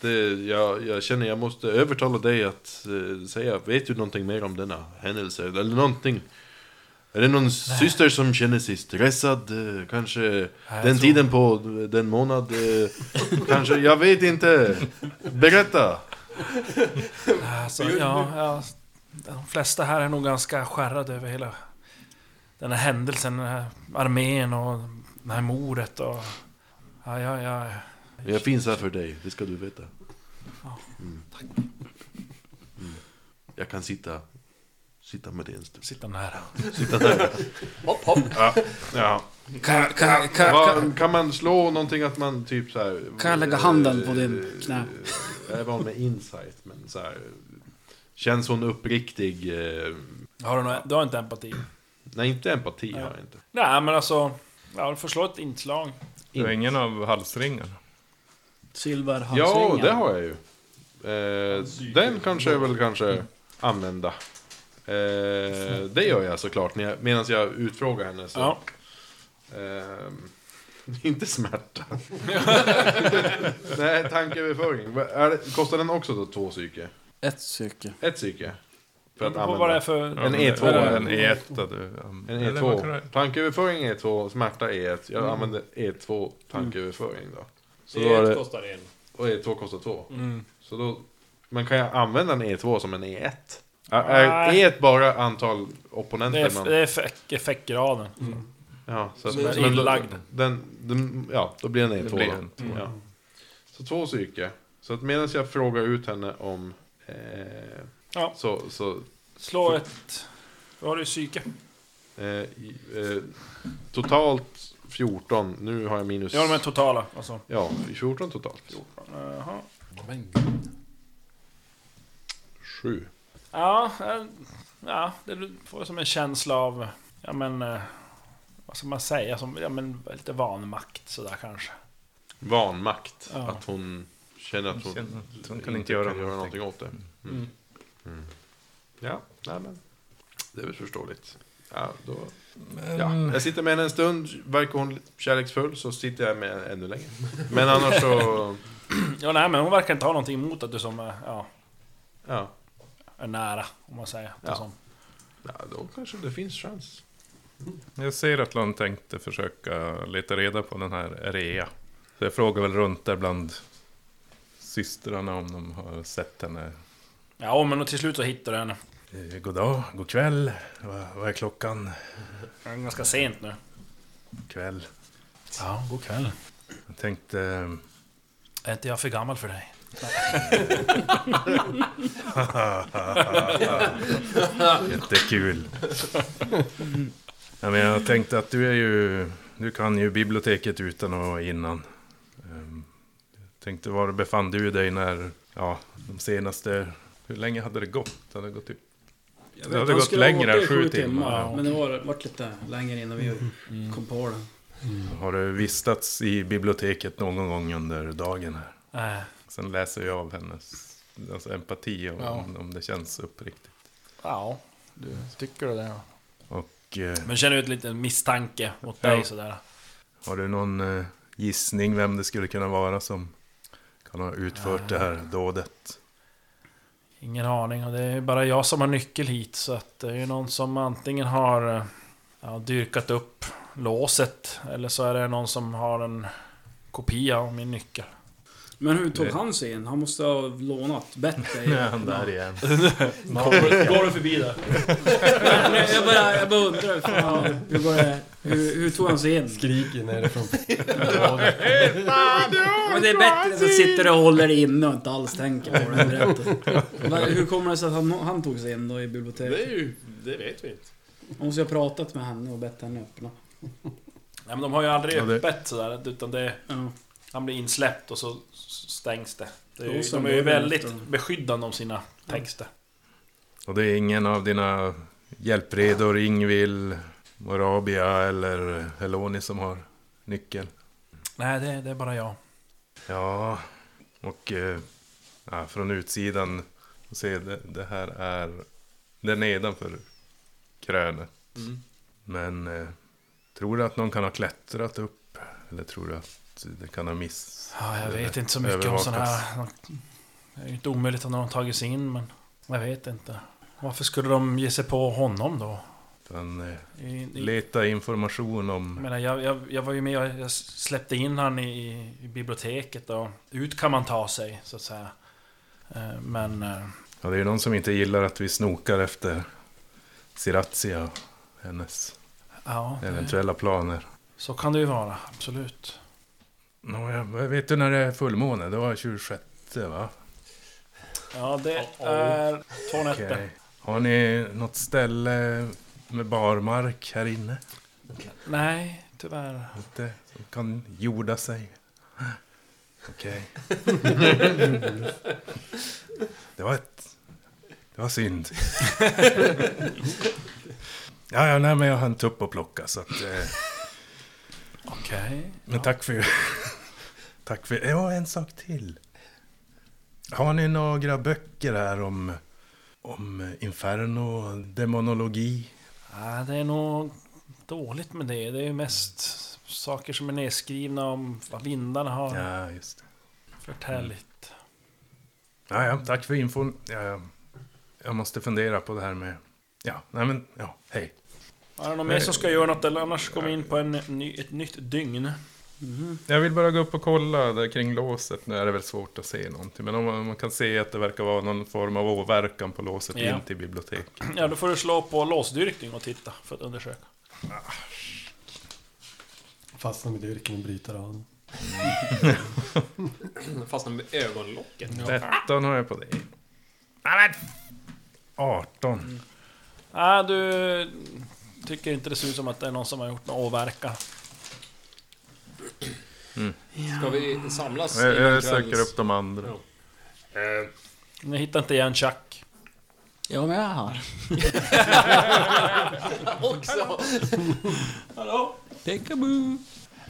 [SPEAKER 6] det, jag, jag känner jag måste övertala dig att eh, säga, vet du någonting mer om denna händelse? Eller någonting? Är det någon syster som känner sig stressad? eh, Kanske den tiden på den månad? eh, kanske, jag vet inte. Berätta!
[SPEAKER 2] Alltså, ja, ja, de flesta här är nog ganska skärrade över hela den här händelsen, den här armén och det här mordet och... Ja, ja, ja.
[SPEAKER 6] Jag finns här för dig, det ska du veta.
[SPEAKER 2] Ja,
[SPEAKER 6] Mm. Mm. Jag kan sitta, sitta med dig en stund.
[SPEAKER 2] Sitta nära.
[SPEAKER 6] Sitta där.
[SPEAKER 7] Hopp, hopp.
[SPEAKER 6] Ja.
[SPEAKER 5] Kan, kan, kan, kan,
[SPEAKER 6] Vad- Kan man slå någonting att man typ så här... eh,
[SPEAKER 5] kan jag lägga handen på din knä?
[SPEAKER 6] Jag var med insight, men så här. Känns hon uppriktig? eh,
[SPEAKER 2] Har du, någon, du har inte empati?
[SPEAKER 6] Nej, inte empati har jag inte.
[SPEAKER 2] Nej, men alltså... Ja, du får slå ett inslag.
[SPEAKER 9] det var ingen av halsringarna.
[SPEAKER 5] Silverhalsringen?
[SPEAKER 6] Ja, det har jag ju. Eh, den kanske jag väl kanske använda. Eh, det gör jag såklart, när jag- medan jag utfrågar henne. Så.
[SPEAKER 2] Ja.
[SPEAKER 6] Ehm, inte smärta. Nej, tankeöverföring. Vad är det- Kostar den också då två psyke?
[SPEAKER 5] Ett psyke.
[SPEAKER 6] Ett psyke? För
[SPEAKER 2] Det
[SPEAKER 6] att
[SPEAKER 2] beror på vad det är
[SPEAKER 6] använda.
[SPEAKER 2] för...
[SPEAKER 9] Ja, men
[SPEAKER 6] E2,
[SPEAKER 9] det är
[SPEAKER 6] eller?
[SPEAKER 9] En E
[SPEAKER 4] E
[SPEAKER 9] E1 du... um,
[SPEAKER 6] En E
[SPEAKER 9] eller vad kan
[SPEAKER 6] E2.
[SPEAKER 9] det-
[SPEAKER 6] Tankeöverföring är E2, smärta är E1. Jag
[SPEAKER 2] Mm.
[SPEAKER 6] använder E E2 tankeöverföring då. Så då är
[SPEAKER 7] Det
[SPEAKER 6] det,
[SPEAKER 7] kostar en.
[SPEAKER 6] och E2 kostar 2.
[SPEAKER 2] Mm.
[SPEAKER 6] Så då, men kan jag använda en E2 som en E E1? Är, är
[SPEAKER 2] Nej.
[SPEAKER 6] E1 E bara antal
[SPEAKER 2] Det
[SPEAKER 6] opponenter
[SPEAKER 2] är,
[SPEAKER 6] man...
[SPEAKER 2] det är effekt, effektgraden.
[SPEAKER 6] Ja, så att,
[SPEAKER 2] som är
[SPEAKER 6] då-
[SPEAKER 2] inlagd.
[SPEAKER 6] Den, den, ja, då blir den
[SPEAKER 9] Det
[SPEAKER 6] E2.
[SPEAKER 9] blir
[SPEAKER 6] då.
[SPEAKER 9] en tvåa.
[SPEAKER 6] Ja. Så två psyke. Så att medan jag frågar ut henne om... Eh,
[SPEAKER 2] Ja.
[SPEAKER 6] Så... så
[SPEAKER 2] Slå ett... Då har du ju psyke.
[SPEAKER 6] eh, i- eh, totalt 14. Nu har jag minus...
[SPEAKER 2] Ja, de är totala. Alltså.
[SPEAKER 6] Ja, 14 totalt.
[SPEAKER 2] Jaha.
[SPEAKER 7] Men
[SPEAKER 6] 7.
[SPEAKER 2] Ja, eh, ja, det du får som en känsla av... Ja, men... eh, Vad ska man säga? Som, ja, men lite vanmakt sådär kanske.
[SPEAKER 6] Vanmakt.
[SPEAKER 2] Ja.
[SPEAKER 6] Att hon känner att hon,
[SPEAKER 9] Känner att hon kan inte göra någonting.
[SPEAKER 6] åt det. Mm.
[SPEAKER 7] Mm.
[SPEAKER 6] Mm. Ja, nej men. Det är väl förståeligt. Ja, då, ja.
[SPEAKER 9] Men-
[SPEAKER 6] Jag sitter med henne en stund. Verkar hon kärleksfull så sitter jag med henne ännu längre. Men annars så...
[SPEAKER 2] Ja, nej, men hon verkar inte ha någonting emot att du som eh, är, ja,
[SPEAKER 6] Ja.
[SPEAKER 2] är nära, om man säger.
[SPEAKER 6] Ja.
[SPEAKER 2] Som.
[SPEAKER 6] Ja, då kanske det finns chans.
[SPEAKER 4] Jag ser att Lund tänkte försöka leta reda på den här Rea. Så jag frågar väl runt där bland systrarna om de har sett henne.
[SPEAKER 2] Ja, men till slut så hittar du henne.
[SPEAKER 4] Eh, God dag, god kväll. Va, vad är klockan?
[SPEAKER 2] Det är ganska sent nu.
[SPEAKER 4] Kväll.
[SPEAKER 2] Ja, god kväll.
[SPEAKER 4] Jag tänkte... eh,
[SPEAKER 2] Är inte jag för gammal för dig?
[SPEAKER 4] Jättekul. Ja, men jag tänkte att du är ju... Du kan ju biblioteket utan och innan. Ehm, Jag tänkte, var befann du dig när... Ja, de senaste... Hur länge hade det gått? Hade det gått typ...
[SPEAKER 5] Jag
[SPEAKER 4] Det hade
[SPEAKER 5] han
[SPEAKER 4] gått
[SPEAKER 5] skulle ha
[SPEAKER 4] längre
[SPEAKER 5] varit
[SPEAKER 4] än
[SPEAKER 5] i
[SPEAKER 4] sju timmar, ja.
[SPEAKER 5] Men det var, vart lite längre innan vi kom på det.
[SPEAKER 4] Har du vistats i biblioteket någon gång under dagen här?
[SPEAKER 2] Äh,
[SPEAKER 4] Sen läser jag av hennes alltså empati om,
[SPEAKER 10] Ja.
[SPEAKER 4] om det känns uppriktigt.
[SPEAKER 10] Ja, du tycker du det? ja.
[SPEAKER 4] Och eh,
[SPEAKER 2] men känner ut lite misstanke mot
[SPEAKER 4] Ja.
[SPEAKER 2] dig sådär.
[SPEAKER 4] har du någon eh, gissning vem det skulle kunna vara som kan ha utfört det här dådet?
[SPEAKER 2] Ingen aning och det är bara jag som har nyckel hit så att det är ju någon som antingen har eh, ja, dyrkat upp låset eller så är det någon som har en kopia av min nyckel.
[SPEAKER 5] Men hur tog han sig in? Han måste ha lånat bättre.
[SPEAKER 4] Nej, han där igen.
[SPEAKER 2] Går du förbi där?
[SPEAKER 5] jag, bara, jag bara undrar. Fan, hur, var det, hur, hur tog han sig in?
[SPEAKER 3] Skriker nerifrån.
[SPEAKER 5] Men det är bättre så sitter du och håller inne och inte alls tänker på det. berättar. Men Hur kommer det sig att han, han tog sig in då i biblioteket?
[SPEAKER 10] är ju... Det vet vi inte.
[SPEAKER 5] Hon måste ju ha pratat med henne och bett henne öppna.
[SPEAKER 2] Nej men de har ju aldrig
[SPEAKER 4] Ja, det-
[SPEAKER 2] öppet sådär utan det är,
[SPEAKER 5] Ja.
[SPEAKER 2] han blir insläppt och så s- stängs det. det är
[SPEAKER 5] Jo,
[SPEAKER 2] ju,
[SPEAKER 5] sen
[SPEAKER 2] de är ju
[SPEAKER 5] går det
[SPEAKER 2] väldigt
[SPEAKER 5] efter.
[SPEAKER 2] beskyddande om sina texter.
[SPEAKER 4] Och det är ingen av dina hjälpredor, Ingvill, Morabia eller Heloni som har nyckeln?
[SPEAKER 2] Nej det, det är bara jag.
[SPEAKER 4] Ja, och eh, ja, från utsidan se det, det här är det är nedanför krönet. Men eh, tror du att någon kan ha klättrat upp? Eller tror du att det kan ha miss?
[SPEAKER 2] Ja, jag
[SPEAKER 4] Det
[SPEAKER 2] vet inte så mycket om
[SPEAKER 4] övervakas.
[SPEAKER 2] sådana här... Det är ju inte omöjligt att någon har tagit sig in men jag vet inte. Varför skulle de ge sig på honom då?
[SPEAKER 4] Utan, eh,
[SPEAKER 2] I, i,
[SPEAKER 4] leta information
[SPEAKER 2] Jag,
[SPEAKER 4] om...
[SPEAKER 2] menar, jag, jag, jag var ju med och jag släppte in han i, i- i biblioteket och ut kan man ta sig så att säga. Eh, Men eh,
[SPEAKER 4] Ja, det är ju någon som inte gillar att vi snokar efter Sirazia och hennes
[SPEAKER 2] ja,
[SPEAKER 4] eventuella planer.
[SPEAKER 2] så kan det ju vara, absolut.
[SPEAKER 4] Nåja, vet du när det är fullmåne? Det var 26 va?
[SPEAKER 2] Ja, det är två nätter.
[SPEAKER 4] Okej. Har ni något ställe med barmark här inne?
[SPEAKER 2] Nej, tyvärr.
[SPEAKER 4] Inte, som kan jorda sig? Okej. det var ett... Det var synd. ja, ja, nej, men jag har en tupp att plocka så att... Eh,
[SPEAKER 2] Okej.
[SPEAKER 4] men tack för... tack för... Ja, en sak till. Har ni några böcker här om... Om inferno, demonologi?
[SPEAKER 2] Ja, det är nog dåligt med det. Det är ju mest saker som är nedskrivna om vad vindarna har
[SPEAKER 4] Ja, just det.
[SPEAKER 2] förtäljt.
[SPEAKER 4] Ja, ja, tack för infon. Ja, ja. Jag måste fundera på det här med... Ja, nej men, ja, hej.
[SPEAKER 2] Är det någon mer som ska göra något eller annars kommer vi in på en ny, ett nytt dygn?
[SPEAKER 4] Jag vill bara gå upp och kolla där kring låset. Nu är det väl svårt att se någonting. Men om man, man kan se att det verkar vara någon form av åverkan på låset
[SPEAKER 2] Ja.
[SPEAKER 4] in till biblioteket.
[SPEAKER 2] Ja, då får du slå på låsdyrkning och titta för att undersöka.
[SPEAKER 3] Fastnar med dyrken och bryter av den.
[SPEAKER 7] Mm. Fastnar med ögonlocket.
[SPEAKER 4] 13 har jag på dig. Nej, men! 18.
[SPEAKER 2] Nej, du tycker inte det ser ut som att det är någon som har gjort någon åverkan.
[SPEAKER 7] Ska vi samlas
[SPEAKER 4] Jag,
[SPEAKER 7] innan
[SPEAKER 4] jag söker
[SPEAKER 7] kvälls-
[SPEAKER 4] upp de andra.
[SPEAKER 7] Ja.
[SPEAKER 8] Eh,
[SPEAKER 2] Ni hittar inte igen Chuck.
[SPEAKER 10] Ja, men jag är här.
[SPEAKER 7] Också! Liksom. Hallå?
[SPEAKER 10] Peekaboo!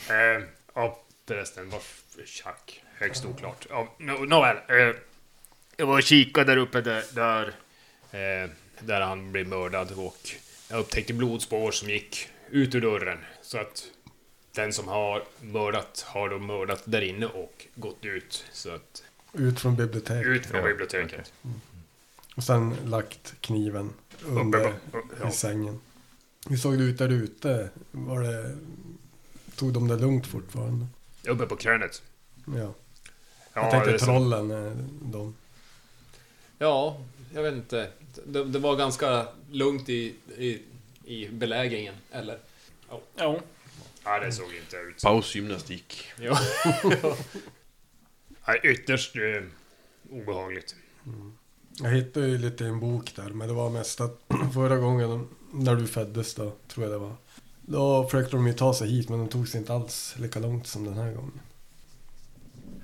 [SPEAKER 8] eh, ja, förresten, varför tjack? Högst oklart. Ja, nå- Nåväl. Eh, jag var och kikade där uppe där, där, eh, där han blev mördad och jag upptäckte blodspår som gick ut ur dörren. Så att den som har mördat har då mördat där inne och gått ut. Så att
[SPEAKER 3] Ut från biblioteket.
[SPEAKER 8] ut från biblioteket.
[SPEAKER 3] Och sen lagt kniven under i sängen. Vi såg det ut där ute? Var det... Tog de det lugnt fortfarande?
[SPEAKER 8] Uppe på krönet.
[SPEAKER 3] Ja.
[SPEAKER 8] Ja,
[SPEAKER 3] Jag
[SPEAKER 8] det är
[SPEAKER 3] tänkte
[SPEAKER 8] så.
[SPEAKER 3] trollen, eh, de.
[SPEAKER 7] Ja, jag vet inte. Det, det var ganska lugnt i, i, i belägringen, eller?
[SPEAKER 2] Jo.
[SPEAKER 8] Ja, det såg inte ut så.
[SPEAKER 6] Pausgymnastik.
[SPEAKER 7] Ja.
[SPEAKER 8] Ja, ytterst eh, obehagligt.
[SPEAKER 3] Jag hittade ju lite i en bok där, men det var mest att förra gången de- när du föddes då, tror jag det var. Då försökte de ju ta sig hit, men de tog sig inte alls lika långt som den här gången.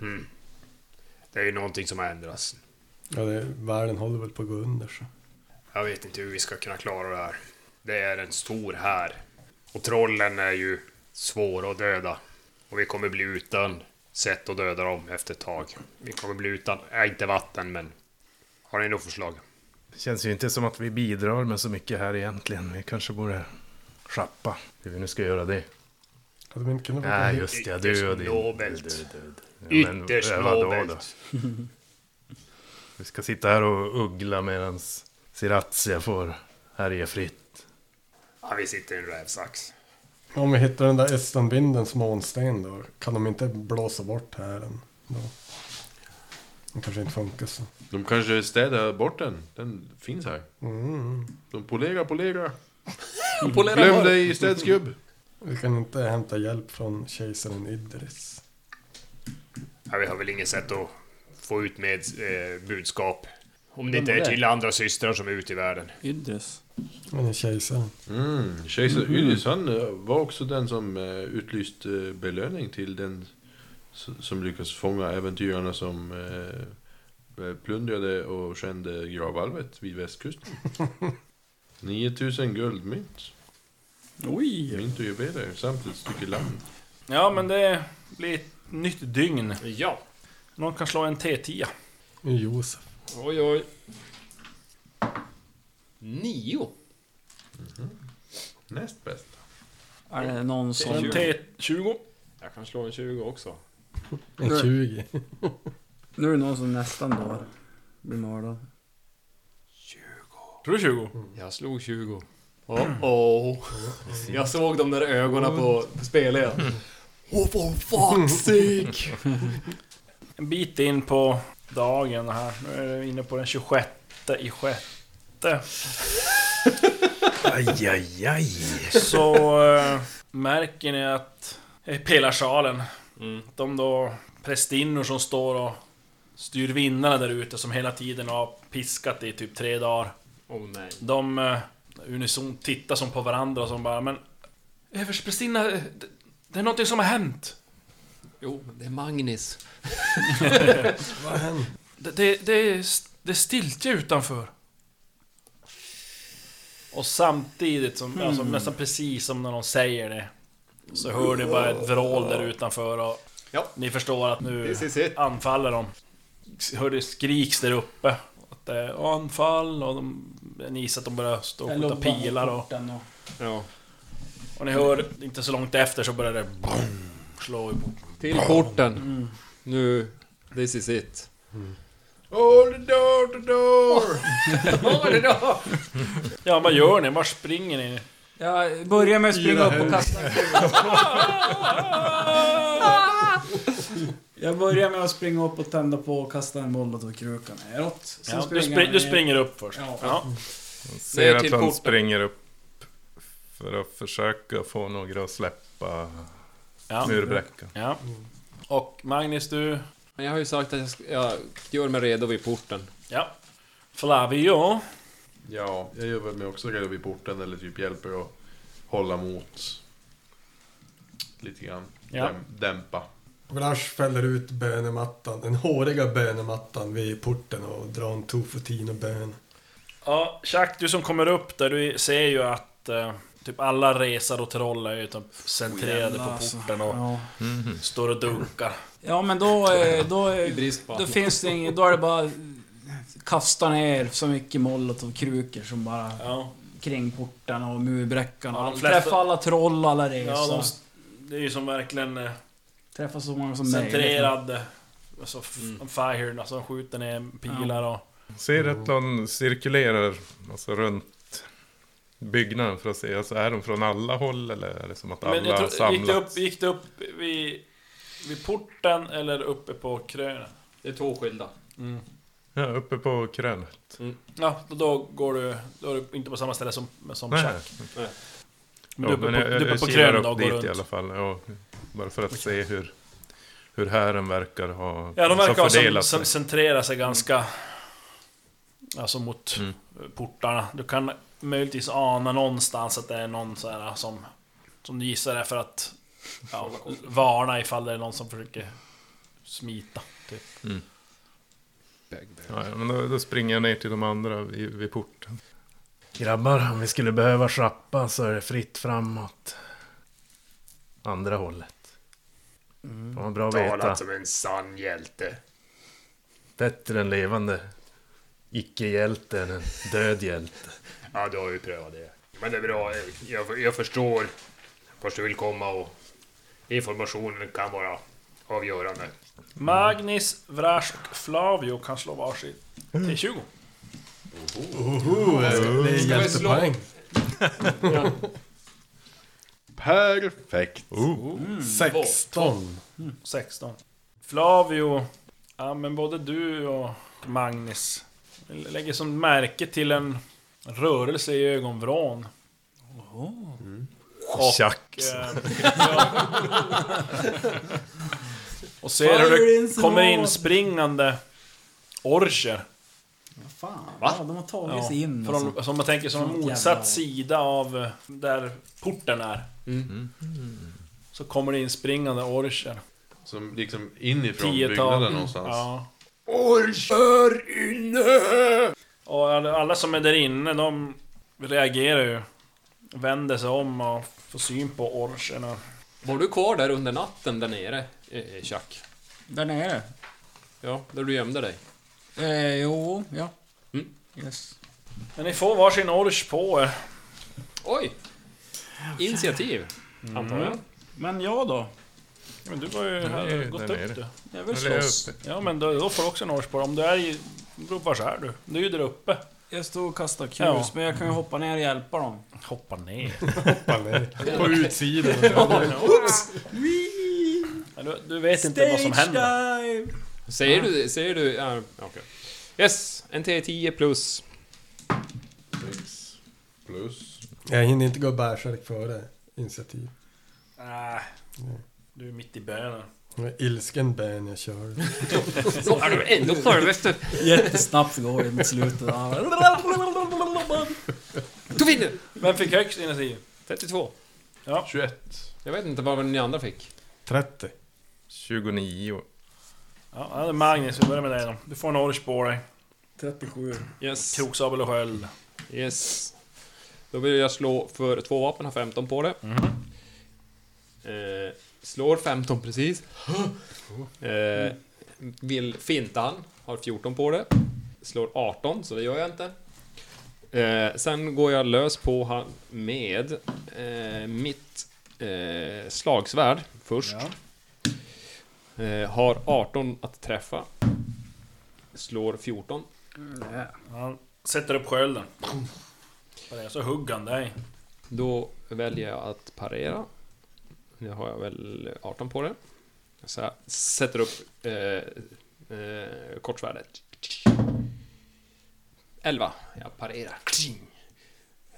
[SPEAKER 8] Mm. Det är ju någonting som har ändrats.
[SPEAKER 3] Ja, det, världen håller väl på att gå under så.
[SPEAKER 8] Jag vet inte hur vi ska kunna klara det här. Det är en stor här. Och trollen är ju svåra att döda. Och vi kommer bli utan sätt att döda dem efter ett tag. Vi kommer bli utan, äh, inte vatten men... Har ni något förslag?
[SPEAKER 4] Det känns ju inte som att vi bidrar med så mycket här egentligen. Vi kanske borde sjappa. Hur vi nu ska göra det.
[SPEAKER 3] Hade vi inte kunnat vara
[SPEAKER 4] Nej,
[SPEAKER 3] på-
[SPEAKER 4] just det. Du och din...
[SPEAKER 8] nobelt.
[SPEAKER 4] du- du- du. Ja, men
[SPEAKER 8] Ytterst
[SPEAKER 4] vadå då?
[SPEAKER 8] nobelt.
[SPEAKER 4] Vi ska sitta här och uggla medan Sirazia får härja fritt.
[SPEAKER 8] Ja, vi sitter i en rävsax.
[SPEAKER 3] Om vi hittar den där östenvinden som månsten då, kan de inte blåsa bort här den? Då? Den kanske inte funkar så.
[SPEAKER 6] De kanske städar bort den. Den finns här.
[SPEAKER 3] Mm.
[SPEAKER 6] De polerar, polerar.
[SPEAKER 7] Polera
[SPEAKER 6] Glöm
[SPEAKER 7] bara.
[SPEAKER 6] dig städsgubb.
[SPEAKER 3] Vi kan inte hämta hjälp från kejsaren Idris.
[SPEAKER 8] Ja, vi har väl inget sätt att få ut med eh, budskap. Om det
[SPEAKER 10] Vem
[SPEAKER 8] inte
[SPEAKER 10] var
[SPEAKER 8] är
[SPEAKER 10] det?
[SPEAKER 8] till andra systrar som är ute i världen.
[SPEAKER 5] Idris.
[SPEAKER 3] Men är kejsaren.
[SPEAKER 6] Mm, kejsar Ylvis han eh, var också den som eh, utlyste eh, belöning till den s- som lyckades fånga äventyrarna som eh, plundrade och skände gravvalvet vid västkusten. 9000 guldmynt,
[SPEAKER 5] Oj!
[SPEAKER 6] mynt och juveler samt ett stycke land.
[SPEAKER 2] Ja, men det blir ett nytt dygn.
[SPEAKER 7] Ja.
[SPEAKER 2] Någon kan slå en T10.
[SPEAKER 3] Det är Josef.
[SPEAKER 7] Oj, oj. Nio.
[SPEAKER 6] Näst bästa.
[SPEAKER 5] Är det någon
[SPEAKER 2] Och en
[SPEAKER 5] som...
[SPEAKER 2] T20.
[SPEAKER 7] Jag kan slå en 20 också.
[SPEAKER 3] En 20.
[SPEAKER 5] Nu är det någon som nästan dör. Blir mördad.
[SPEAKER 2] Tror du 20?
[SPEAKER 7] Jag slog 20. Oh, oh. Jag såg de där ögonen på spelaren. Oh, for fuck's sake!
[SPEAKER 2] En bit in på dagen här. Nu är vi inne på den 26 i sjätte.
[SPEAKER 4] Aj, aj, aj.
[SPEAKER 2] Så eh, märker ni att i pelarsalen,
[SPEAKER 7] Mm.
[SPEAKER 2] de då prästinnor som står och styr vindarna där ute som hela tiden har piskat i typ tre dagar.
[SPEAKER 7] Oh nej.
[SPEAKER 2] De eh, unison tittar som på varandra och som bara men Översteprästinna, eh, det, det är någonting som har hänt.
[SPEAKER 7] Jo, men det är Magnus.
[SPEAKER 3] Vad händer?
[SPEAKER 2] Det, det, det, är, st- det är stiltje utanför. Och samtidigt, som, alltså,
[SPEAKER 7] Hmm.
[SPEAKER 2] nästan precis som när de säger det Så hör ni bara ett vrål där utanför och
[SPEAKER 7] Ja.
[SPEAKER 2] ni förstår att nu
[SPEAKER 7] This is it.
[SPEAKER 2] anfaller de. Hör det skriks där uppe. Att det är anfall och de, ni gissar att de börjar stå och skjuta pilar och...
[SPEAKER 7] Ja.
[SPEAKER 2] Och ni hör, inte så långt efter så börjar det boom, slå i porten.
[SPEAKER 7] Till porten. Nu, this is it.
[SPEAKER 6] Oh, the door, the door!
[SPEAKER 2] Ja, vad gör ni? Var springer ni?
[SPEAKER 5] Jag börjar med att springa upp och kasta en kula. Jag börjar med att springa upp och tända på och kasta en molotovkruka neråt. Sen
[SPEAKER 2] Ja, du,
[SPEAKER 5] springer
[SPEAKER 2] spring,
[SPEAKER 5] jag
[SPEAKER 2] du
[SPEAKER 5] ner.
[SPEAKER 2] springer upp först.
[SPEAKER 5] Ja.
[SPEAKER 2] Ja.
[SPEAKER 4] Ser
[SPEAKER 7] till
[SPEAKER 4] att han
[SPEAKER 7] porten.
[SPEAKER 4] springer upp för att försöka få några att släppa
[SPEAKER 2] Ja.
[SPEAKER 4] murbräckan.
[SPEAKER 2] Ja. Och Magnus, du...
[SPEAKER 7] Men jag har ju sagt att jag, ska, jag gör mig redo vid porten.
[SPEAKER 2] Ja. Flavio.
[SPEAKER 6] Ja, jag gör väl mig också redo vid porten eller typ hjälper att hålla mot. Lite grann.
[SPEAKER 2] Ja.
[SPEAKER 6] Däm- Dämpa.
[SPEAKER 3] Vrash fäller ut bönemattan, den håriga bönemattan vid porten och drar en tofutinobön.
[SPEAKER 2] Ja, Jack, du som kommer upp där, du ser ju att eh, typ alla resar och troll är ju typ centrerade
[SPEAKER 5] Jävlar,
[SPEAKER 2] på
[SPEAKER 5] alltså.
[SPEAKER 2] porten och
[SPEAKER 5] Ja.
[SPEAKER 2] står och dunkar.
[SPEAKER 5] ja, men då... eh, då
[SPEAKER 7] I brist på
[SPEAKER 5] Då finns det inget, då är det bara... Kasta ner så mycket molotovkrukor som bara...
[SPEAKER 2] Ja.
[SPEAKER 5] Kring portarna och murbräckan.
[SPEAKER 2] Ja, de
[SPEAKER 5] och
[SPEAKER 2] flesta-
[SPEAKER 5] Träffa alla troll, alla
[SPEAKER 2] Ja,
[SPEAKER 5] resor.
[SPEAKER 2] de, det är ju som verkligen eh,
[SPEAKER 5] Träffa så många som
[SPEAKER 2] centrerad... eh, Alltså, f-
[SPEAKER 5] Mm.
[SPEAKER 2] fire, alltså de skjuter ner pilar och...
[SPEAKER 4] Ser att någon cirkulerar alltså runt byggnaden för att se? Alltså, är de från alla håll eller är det som att
[SPEAKER 2] Men jag
[SPEAKER 4] alla
[SPEAKER 2] tror, gick,
[SPEAKER 4] samlats?
[SPEAKER 2] det upp, gick det upp vid, vid porten eller uppe på krönet?
[SPEAKER 7] Det är två skilda.
[SPEAKER 4] Ja, uppe på krönet.
[SPEAKER 2] Ja, då, då går du... Då är du inte på samma ställe som, som
[SPEAKER 4] Nej.
[SPEAKER 2] Chuck.
[SPEAKER 7] Nej.
[SPEAKER 2] Men
[SPEAKER 4] Ja,
[SPEAKER 2] du är uppe på, du är uppe på
[SPEAKER 4] kilar
[SPEAKER 2] krönet då och
[SPEAKER 4] upp
[SPEAKER 2] går
[SPEAKER 4] dit
[SPEAKER 2] runt.
[SPEAKER 4] i alla fall. Ja, bara för att se hur, hur hären verkar ha
[SPEAKER 2] Ja, de
[SPEAKER 4] alltså,
[SPEAKER 2] verkar ha som,
[SPEAKER 4] fördelat
[SPEAKER 2] som
[SPEAKER 4] sig.
[SPEAKER 2] centrerar sig ganska... Alltså mot
[SPEAKER 4] Mm.
[SPEAKER 2] portarna. Du kan möjligtvis ana någonstans att det är någon så här som... Som du gissar är för att... Ja, varna ifall det är någon som försöker smita. Typ.
[SPEAKER 4] Ja, ja, men då, då springer jag ner till de andra vid, vid porten.
[SPEAKER 9] Grabbar, om vi skulle behöva schappa så är det fritt framåt. Andra hållet.
[SPEAKER 6] Mm.
[SPEAKER 9] Fan vad bra att veta.
[SPEAKER 8] Talat
[SPEAKER 6] alltså.
[SPEAKER 8] som en sann hjälte.
[SPEAKER 9] Bättre än levande. Icke-hjälte än en död hjälte.
[SPEAKER 8] Ja, du har ju prövat det. Men det är bra. Jag, jag förstår vart du vill komma och informationen kan vara avgörande.
[SPEAKER 2] Magnus, Vrash och Flavio kan slå varsin T20.
[SPEAKER 3] Det är
[SPEAKER 7] vi slå?
[SPEAKER 3] hjältepoäng.
[SPEAKER 6] Perfekt.
[SPEAKER 3] 16.
[SPEAKER 2] 16. Flavio, ja men både du och Magnus lägger som märke till en rörelse i ögonvrån. Och,
[SPEAKER 4] Tjack!
[SPEAKER 2] eh, ja. och ser hur
[SPEAKER 5] Fire in
[SPEAKER 2] det
[SPEAKER 5] the
[SPEAKER 2] kommer
[SPEAKER 5] hole.
[SPEAKER 2] inspringande orcher.
[SPEAKER 5] Fan, Ja, de har tagit
[SPEAKER 2] Ja,
[SPEAKER 5] sig in.
[SPEAKER 2] från,
[SPEAKER 5] Alltså.
[SPEAKER 2] som man tänker som en
[SPEAKER 5] Sånt
[SPEAKER 2] motsatt
[SPEAKER 5] jävla-
[SPEAKER 2] sida av eh, där porten är.
[SPEAKER 5] Mm.
[SPEAKER 2] Så kommer det inspringande orcher.
[SPEAKER 6] Som liksom inifrån
[SPEAKER 2] Tiotal.
[SPEAKER 6] byggnaden någonstans.
[SPEAKER 2] Ja.
[SPEAKER 8] Orcher inne!
[SPEAKER 2] Och alla alla som är där inne, de reagerar ju. Vänder sig om och får syn på orcherna.
[SPEAKER 7] Var du kvar där under natten där nere, eh, Chuck?
[SPEAKER 5] Där nere?
[SPEAKER 7] Ja, där du gömde dig.
[SPEAKER 5] Eh, jo, ja.
[SPEAKER 7] Mm.
[SPEAKER 5] Yes.
[SPEAKER 2] Men ni får varsin orch på er.
[SPEAKER 7] Oj! Initiativ, antar jag.
[SPEAKER 5] Mm. Men jag då?
[SPEAKER 2] Ja, Men du var ju
[SPEAKER 4] är ju
[SPEAKER 2] här, gått
[SPEAKER 4] där
[SPEAKER 2] upp
[SPEAKER 4] nere.
[SPEAKER 2] du.
[SPEAKER 5] Jag vill
[SPEAKER 4] Eller jag är
[SPEAKER 5] slåss.
[SPEAKER 4] uppe.
[SPEAKER 2] Ja men då, då får du också en orch på dig. Om du är i... det beror på Vars är du? Du är ju där uppe.
[SPEAKER 5] Jag står och kastar kulus,
[SPEAKER 2] Ja.
[SPEAKER 5] men jag kan ju hoppa ner och hjälpa dem.
[SPEAKER 2] Hoppa ner.
[SPEAKER 4] På utsidan.
[SPEAKER 2] Men du, du vet inte vad som händer.
[SPEAKER 5] dive!
[SPEAKER 7] Säger du... Säger du... Ja, okej. Yes, en T10 plus.
[SPEAKER 6] Plus.
[SPEAKER 3] Jag hinner inte gå bärsärk före initiativ.
[SPEAKER 2] Nej. Du är mitt i bönen.
[SPEAKER 3] Ilsken bän jag kör.
[SPEAKER 7] Så är du ändå självaste!
[SPEAKER 5] Jättesnabbt går det mot slutet.
[SPEAKER 7] Du vinner!
[SPEAKER 2] Vem fick högst initiativ?
[SPEAKER 7] 32.
[SPEAKER 6] 21.
[SPEAKER 7] Jag vet inte vad ni andra fick.
[SPEAKER 3] 30.
[SPEAKER 4] 29.
[SPEAKER 2] Ja, det är Magnus, vi börjar med dig då. Du får en orch på dig.
[SPEAKER 5] 37.
[SPEAKER 7] Yes.
[SPEAKER 2] Kroksabel och sköld.
[SPEAKER 7] Yes. Då vill jag slå för två vapen, har 15 på det. Eh, slår 15 precis. Eh, vill finta han, har 14 på det. Slår 18, så det gör jag inte. Eh, sen går jag lös på han med eh, mitt eh, slagsvärd först. Eh, har 18 att träffa. Slår 14.
[SPEAKER 2] Han sätter upp skölden. Så hugger han dig.
[SPEAKER 7] Då väljer jag att parera. Nu har jag väl 18 på det. Så jag sätter upp eh, eh, kortsvärdet. 11. Jag parerar.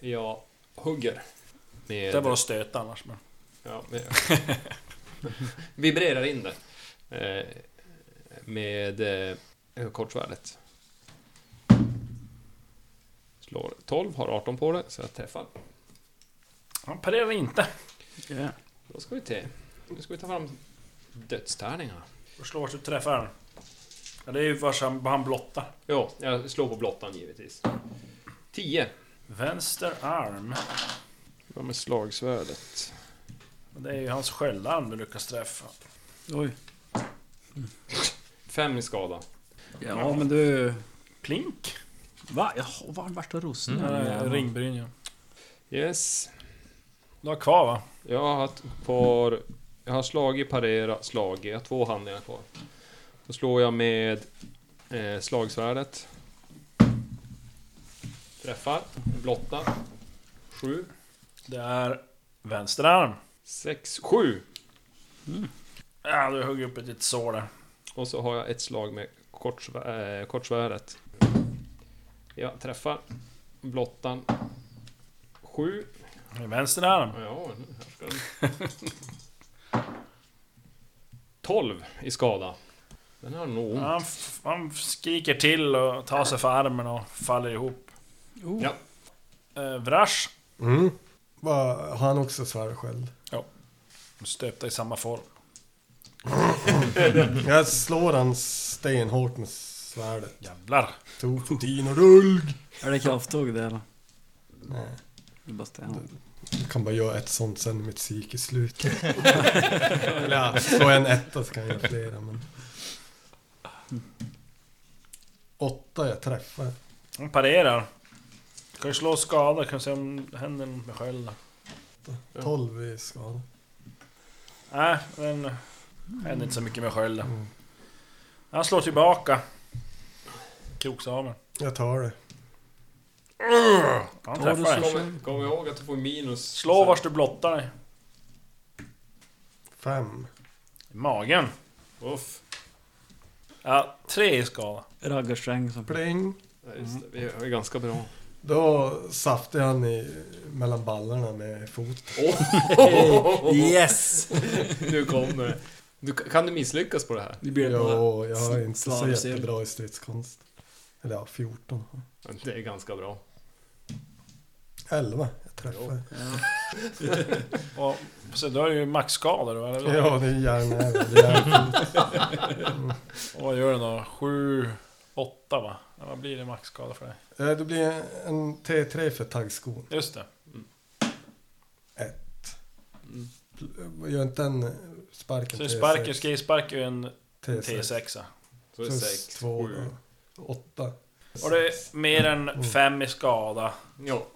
[SPEAKER 7] Jag hugger. Med,
[SPEAKER 2] Det var att stöta annars men...
[SPEAKER 7] ja, med, vibrerar in det. Eh, med eh, kortsvärdet. Slår 12, har 18 på det, så jag träffar.
[SPEAKER 2] Han parerar inte.
[SPEAKER 7] Då ska vi till... Nu ska vi ta fram dödstärningarna.
[SPEAKER 2] Och slår vart du träffar han. Ja, det är ju vars han, han blottar.
[SPEAKER 7] Ja, jag slår på blottan givetvis. 10.
[SPEAKER 2] Vänster arm.
[SPEAKER 7] Vad med slagsvärdet?
[SPEAKER 2] Det är ju hans sköldarm du lyckas träffa.
[SPEAKER 5] Oj.
[SPEAKER 7] 5 i skada.
[SPEAKER 5] Ja, men du...
[SPEAKER 2] Plink.
[SPEAKER 5] Va? Jaha, var vart det rostig?
[SPEAKER 2] Mm. Ringbryn ja.
[SPEAKER 7] Yes.
[SPEAKER 2] Du har kvar va?
[SPEAKER 7] Jag har haft kvar... Jag har slagit, parera, slagit. Jag har två handlingar kvar. Då slår jag med eh, slagsvärdet. Träffar. Blotta. Sju.
[SPEAKER 2] Det är vänster arm.
[SPEAKER 7] Sex. Sju.
[SPEAKER 2] Ja, du hugger upp ett litet sår där.
[SPEAKER 7] Och så har jag ett slag med kortsvä- eh, kortsvärdet. Jag träffar blottan. Sju.
[SPEAKER 2] Med vänster arm.
[SPEAKER 7] Ja, nu här ska den. Tolv i skada. Den har nog ont.
[SPEAKER 2] Han, f- han skriker till och tar sig för armen och faller ihop.
[SPEAKER 5] Oh.
[SPEAKER 7] Ja.
[SPEAKER 2] Eh, Vrash.
[SPEAKER 3] Mm. Va, har han också svärdskeld?
[SPEAKER 2] Stöpta i samma form.
[SPEAKER 3] Jag slår han stenhårt med svärdet.
[SPEAKER 2] Jävlar.
[SPEAKER 3] Tog din och rull!
[SPEAKER 5] Är det krafttåg det eller?
[SPEAKER 3] Nej.
[SPEAKER 5] Det är bara sten.
[SPEAKER 3] Jag kan bara göra ett sånt sen när mitt psyke är slut. Eller ja, slår jag en etta så kan jag göra flera men... Åtta jag träffar.
[SPEAKER 2] Han parerar. Kan ju slå skada, kan se om det händer något med skölden.
[SPEAKER 3] Tolv i skada.
[SPEAKER 2] Nej, den händer inte så mycket med
[SPEAKER 5] Mm.
[SPEAKER 2] skölden. Han slår tillbaka. Kroksamen.
[SPEAKER 3] Jag tar det.
[SPEAKER 2] Han
[SPEAKER 5] Tar du
[SPEAKER 2] träffar dig.
[SPEAKER 5] slå?
[SPEAKER 7] Kom, kom ihåg att du får minus.
[SPEAKER 2] Slå vars du blottar dig.
[SPEAKER 3] Fem.
[SPEAKER 2] I magen. Uff. Ja, tre i skada.
[SPEAKER 5] Raggarsträng som...
[SPEAKER 3] Pling.
[SPEAKER 7] Ja, just det. Vi är ganska bra.
[SPEAKER 3] Då saftar jag han i, mellan ballarna med fot.
[SPEAKER 2] Oh,
[SPEAKER 5] Yes!
[SPEAKER 7] Nu kommer det. du, Kan du misslyckas på det här?
[SPEAKER 5] Nu blir det bara...
[SPEAKER 3] Jo, jag har inte så
[SPEAKER 5] Slarvsel.
[SPEAKER 3] jättebra i stridskonst. Eller ja, 14.
[SPEAKER 7] Det är ganska bra.
[SPEAKER 3] 11. Jag träffar.
[SPEAKER 2] Och, så då är det ju maxskada då, eller?
[SPEAKER 3] Ja, det är järnnäve. Det är järnfot.
[SPEAKER 2] Och vad gör den då? Sju, åtta va? Ja, vad blir det maxskada för dig?
[SPEAKER 3] Eh, Det blir en T3 för taggskon.
[SPEAKER 2] Just det.
[SPEAKER 3] Ett. Gör inte den sparken
[SPEAKER 2] Så
[SPEAKER 3] T6?
[SPEAKER 2] sparker, skrivspark är ju en T6.
[SPEAKER 7] Så det är
[SPEAKER 3] Plus
[SPEAKER 7] sex,
[SPEAKER 3] två.
[SPEAKER 7] sju.
[SPEAKER 3] då. Åtta.
[SPEAKER 2] Och det är mer än fem i skada.
[SPEAKER 7] Ja.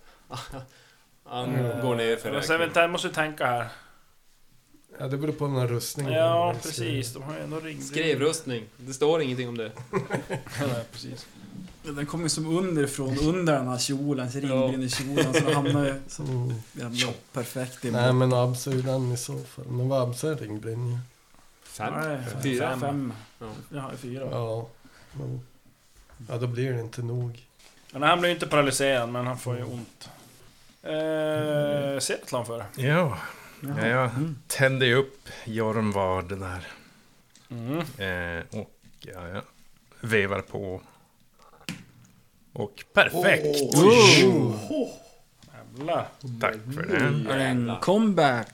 [SPEAKER 7] Han går ner för
[SPEAKER 2] Men sen
[SPEAKER 7] räkning.
[SPEAKER 2] vänta, jag måste tänka här.
[SPEAKER 3] Ja, det beror på den här rustningen.
[SPEAKER 2] Ja, precis. De har ju ändå ringt.
[SPEAKER 7] Skrevrustning. Det står ingenting om det.
[SPEAKER 2] Ja, precis.
[SPEAKER 5] Den kommer ju som underifrån, under den här kjolen, så ringbrinn i kjolen, så den hamnar ju som
[SPEAKER 3] Mm.
[SPEAKER 5] jävla perfekt i
[SPEAKER 3] Nej, men Abs är ju den i så fall. Men vad Abs är ringbrinja.
[SPEAKER 7] Fem?
[SPEAKER 5] Nej, fem.
[SPEAKER 7] Fyra.
[SPEAKER 5] Fem.
[SPEAKER 7] Ja.
[SPEAKER 5] Jag har ju fyra.
[SPEAKER 3] Ja. jo. Ja, då blir det inte nog.
[SPEAKER 2] Men han blir ju inte paralyserad, men han får ju ont. Eh, Zetlan för det.
[SPEAKER 4] Ja, ja jag
[SPEAKER 5] Mm.
[SPEAKER 4] tände ju upp Jormvard där.
[SPEAKER 2] Mm.
[SPEAKER 4] Eh, och ja, jag vevar på. Och perfekt!
[SPEAKER 2] Jävlar.
[SPEAKER 4] Tack för det.
[SPEAKER 5] Är det en comeback?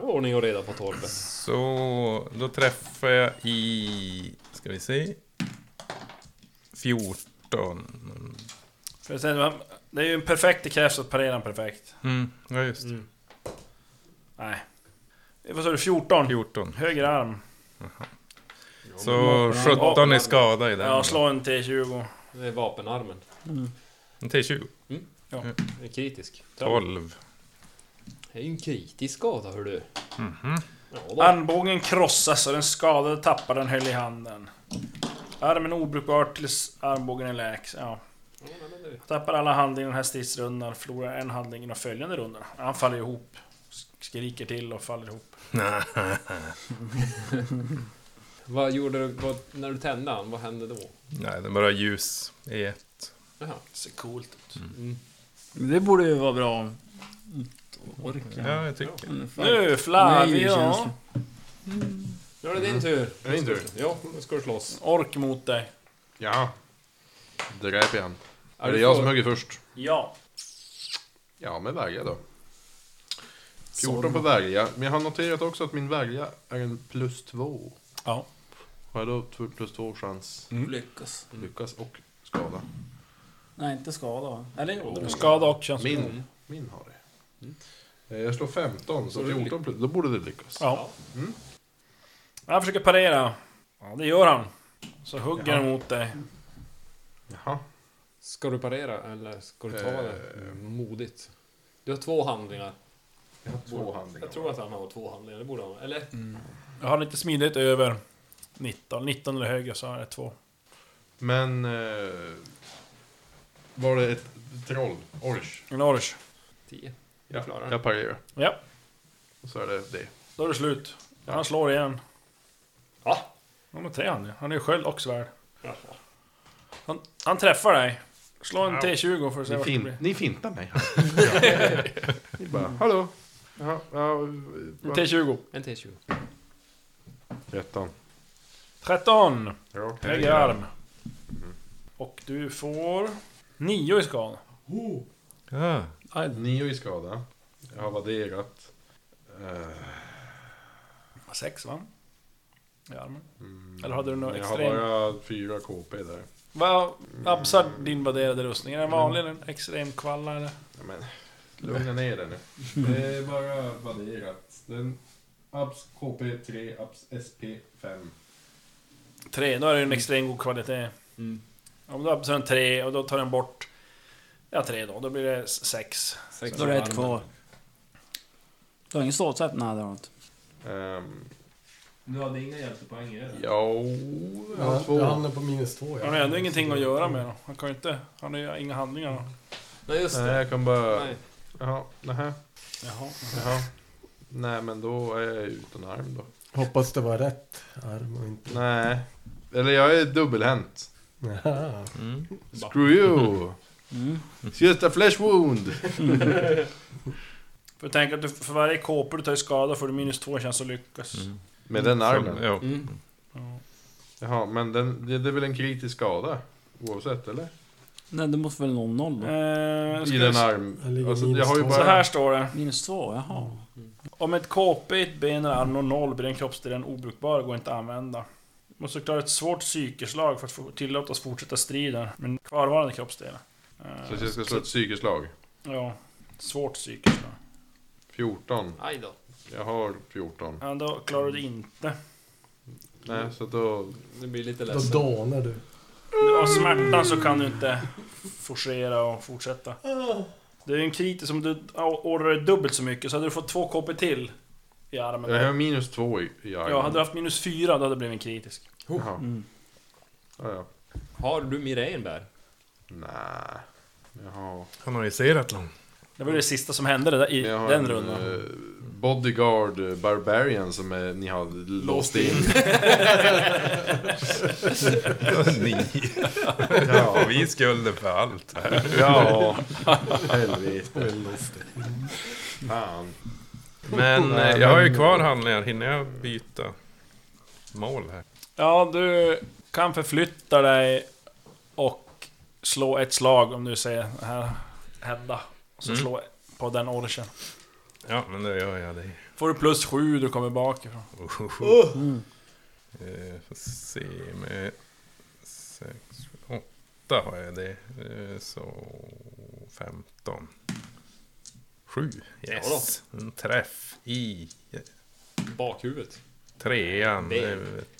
[SPEAKER 7] Ordning och reda på torpet.
[SPEAKER 4] Så då träffar jag i... Ska vi se? 14.
[SPEAKER 2] För sen, det är ju en perfekt, det krävs att parera en perfekt.
[SPEAKER 4] Mm, ja just det.
[SPEAKER 2] Nej. Eh, Vad sa du? 14?
[SPEAKER 4] 14.
[SPEAKER 2] Höger arm.
[SPEAKER 4] Så 17 är skada i den.
[SPEAKER 2] Ja, slå en T20.
[SPEAKER 7] Det är vapenarmen.
[SPEAKER 5] Mm.
[SPEAKER 4] En T20.
[SPEAKER 6] Mm.
[SPEAKER 7] Den är kritisk.
[SPEAKER 4] 12.
[SPEAKER 7] Det är ju en kritisk skada hördu.
[SPEAKER 6] Mhm.
[SPEAKER 7] Ja, då.
[SPEAKER 2] Armbågen krossas och den skadade tappar den höll i handen. Armen är obrukbar tills armbågen är läks. Ja. Tappar alla handlingar i den här stridsrundan, förlorar en handling i de följande rundorna. Han faller ihop. Skriker till och faller ihop.
[SPEAKER 7] Vad gjorde du vad, när du tände han? Vad hände då?
[SPEAKER 4] Nej, den bara ljus. E. E1.
[SPEAKER 7] Jaha.
[SPEAKER 2] Ser coolt ut.
[SPEAKER 5] Men Det borde ju vara bra om...
[SPEAKER 4] Ja, jag tycker.
[SPEAKER 2] Nu
[SPEAKER 5] Nej, känns
[SPEAKER 2] Flavio!
[SPEAKER 5] det.
[SPEAKER 7] Nu är det din tur. Min tur? Ja, nu ska du slåss.
[SPEAKER 2] Ork mot dig.
[SPEAKER 6] Ja. Dräp igen. Är det
[SPEAKER 7] du
[SPEAKER 6] jag
[SPEAKER 7] får-
[SPEAKER 6] som hugger först?
[SPEAKER 2] Ja.
[SPEAKER 6] Ja, med värja då. 14 på värja. Men jag har noterat också att min värja är en plus 2.
[SPEAKER 2] Ja.
[SPEAKER 6] Har jag då två- plus 2 chans
[SPEAKER 5] Lyckas.
[SPEAKER 6] lyckas och skada?
[SPEAKER 5] Nej, inte skada va? Eller jo. det var-
[SPEAKER 2] Skada och känns
[SPEAKER 6] Min, min har det. Eh, Jag slår 15, så
[SPEAKER 7] Då är det
[SPEAKER 6] 14 plus, då borde det lyckas.
[SPEAKER 2] Ja. Han försöker parera. Ja, det gör han. Så hugger han mot dig.
[SPEAKER 6] Jaha.
[SPEAKER 7] Ska du parera eller ska du ta det
[SPEAKER 6] Eh.
[SPEAKER 7] modigt? Du har två handlingar.
[SPEAKER 6] Jag har två handlingar.
[SPEAKER 7] Jag tror att han har två handlingar, det borde han. Eller?
[SPEAKER 5] Mm.
[SPEAKER 2] Jag har lite smidigt över 19, 19 eller högre så har jag två.
[SPEAKER 6] Men... Eh, var det ett troll? Orch?
[SPEAKER 2] En orch.
[SPEAKER 7] 10.
[SPEAKER 6] Ja,
[SPEAKER 7] Du klarar det.
[SPEAKER 6] jag parerar.
[SPEAKER 2] Ja.
[SPEAKER 6] Och så är det det.
[SPEAKER 2] Då är det slut.
[SPEAKER 6] Ja.
[SPEAKER 2] Han slår igen.
[SPEAKER 6] Ja.
[SPEAKER 2] Ja, men tre han ju. Han är ju sköld och svärd. Han, han träffar dig. Slå en T20 för att se
[SPEAKER 6] Ni,
[SPEAKER 2] vad det
[SPEAKER 6] fin,
[SPEAKER 2] blir.
[SPEAKER 6] ni fintar mig här. ni bara, hallå? Ja, ja,
[SPEAKER 2] En
[SPEAKER 6] vad-
[SPEAKER 2] T20.
[SPEAKER 7] En T20.
[SPEAKER 6] 13.
[SPEAKER 2] 13.
[SPEAKER 6] Ja,
[SPEAKER 2] Lägg i arm.
[SPEAKER 6] Mm.
[SPEAKER 2] Och du får... 9 i skada.
[SPEAKER 4] Ja,
[SPEAKER 6] Nej, Nio i skada. Jag har vadderat. Eh,
[SPEAKER 2] 6 va? I armen. Eller hade du något
[SPEAKER 6] Mm. jag har
[SPEAKER 2] extrem...
[SPEAKER 6] bara fyra KP där.
[SPEAKER 2] Vad absar din värderade rustning? Är den
[SPEAKER 6] Mm.
[SPEAKER 2] vanlig eller en extrem kvalla eller?
[SPEAKER 6] Ja, Men, lugna ner dig nu. Det är bara vadderat. Den abs KP3, abs SP5.
[SPEAKER 2] 3, då är det en extrem god kvalitet.
[SPEAKER 7] Mm.
[SPEAKER 2] Om du absar en 3 och då tar den bort... Ja, 3 då. Då blir det 6.
[SPEAKER 7] Sex
[SPEAKER 5] Då är det
[SPEAKER 7] av
[SPEAKER 5] ett
[SPEAKER 7] armen.
[SPEAKER 5] kvar. Du har ingen stålsätt? Nej, det har du inte.
[SPEAKER 6] Um,
[SPEAKER 7] Du hade inga hjältepoäng i det?
[SPEAKER 6] ja, jag har
[SPEAKER 3] Ja,
[SPEAKER 6] två.
[SPEAKER 3] jag hamnar på minus två.
[SPEAKER 2] Han har ju ändå ingenting att göra med då. Han kan ju inte... Han har ju inga handlingar då.
[SPEAKER 7] Nej, just
[SPEAKER 6] Nej,
[SPEAKER 7] det.
[SPEAKER 6] jag kan bara...
[SPEAKER 7] Nej.
[SPEAKER 6] Jaha, nähä,
[SPEAKER 2] Jaha.
[SPEAKER 6] jaha. Nej, men då är jag utan arm då.
[SPEAKER 3] Hoppas det var rätt arm och inte...
[SPEAKER 6] Nej. Eller jag är dubbelhänt.
[SPEAKER 3] Ja.
[SPEAKER 6] Screw you!
[SPEAKER 5] Mm.
[SPEAKER 6] It's just a flesh wound!
[SPEAKER 2] För tänk att du, för varje kåpa du tar i skada får du minus 2 chans att lyckas.
[SPEAKER 6] Med den
[SPEAKER 4] armen.
[SPEAKER 6] armen.
[SPEAKER 4] Jo.
[SPEAKER 7] Mm.
[SPEAKER 2] Ja.
[SPEAKER 6] Jaha, men den, det, det är väl en kritisk skada? Oavsett, eller?
[SPEAKER 5] Nej, det måste väl vara noll då?
[SPEAKER 2] Eh, ska
[SPEAKER 6] I
[SPEAKER 2] vi
[SPEAKER 6] den
[SPEAKER 2] se.
[SPEAKER 6] arm...
[SPEAKER 3] Jag ligger
[SPEAKER 6] Alltså,
[SPEAKER 3] minus
[SPEAKER 6] jag har ju
[SPEAKER 3] två.
[SPEAKER 2] Så
[SPEAKER 6] bara...
[SPEAKER 2] här står det.
[SPEAKER 5] Minus två, jaha.
[SPEAKER 2] Om ett KP, i ett ben eller arm når noll blir den kroppsdelen obrukbar och går inte att använda. Måste klara ett svårt psykeslag för att få tillåtas fortsätta striden med kvarvarande kroppsdelar. Eh,
[SPEAKER 6] Så jag ska slå ett psykeslag.
[SPEAKER 2] Ja, svårt psykeslag.
[SPEAKER 6] 14.
[SPEAKER 7] Aj då.
[SPEAKER 6] Jag har 14.
[SPEAKER 2] Ja, då klarar du det inte.
[SPEAKER 6] Nej, så då...
[SPEAKER 7] Det blir lite
[SPEAKER 3] Då
[SPEAKER 7] ledsen.
[SPEAKER 3] dånar du.
[SPEAKER 2] Av smärtan så kan du inte forcera och fortsätta. Det är ju en kritisk, om du ordrar dubbelt så mycket så hade du fått två KP till i armen.
[SPEAKER 6] Jag har minus 2 i, i armen.
[SPEAKER 2] Ja, hade du haft minus fyra då hade det blivit en kritisk.
[SPEAKER 6] Jaha.
[SPEAKER 5] Mm.
[SPEAKER 6] Ja, ja.
[SPEAKER 7] Har du Mirenbär?
[SPEAKER 6] Nej. Jag har...
[SPEAKER 4] han har ju serat långt.
[SPEAKER 2] Det var ju det sista som hände det där, i
[SPEAKER 6] Jag har
[SPEAKER 2] den
[SPEAKER 6] en,
[SPEAKER 2] rundan.
[SPEAKER 6] eh, Bodyguard eh, Barbarian som eh, ni har låst in.
[SPEAKER 4] Ni
[SPEAKER 6] ja,
[SPEAKER 4] har vi skulden för allt här.
[SPEAKER 6] ja. helvete. Fan.
[SPEAKER 4] Men eh, jag har ju kvar handlingar. Hinner jag byta mål här?
[SPEAKER 2] Ja, du kan förflytta dig och slå ett slag om du säger det här hända. Och så
[SPEAKER 4] Mm.
[SPEAKER 2] slå på den orchen.
[SPEAKER 4] Ja, men då gör jag det.
[SPEAKER 2] Får du plus sju, du kommer bakifrån.
[SPEAKER 4] Oh. Eh, får se med... Sex, sju, åtta har jag det. Eh, så... 15. Sju. Yes! En träff i
[SPEAKER 7] Bakhuvudet?
[SPEAKER 4] trean.
[SPEAKER 7] Ben.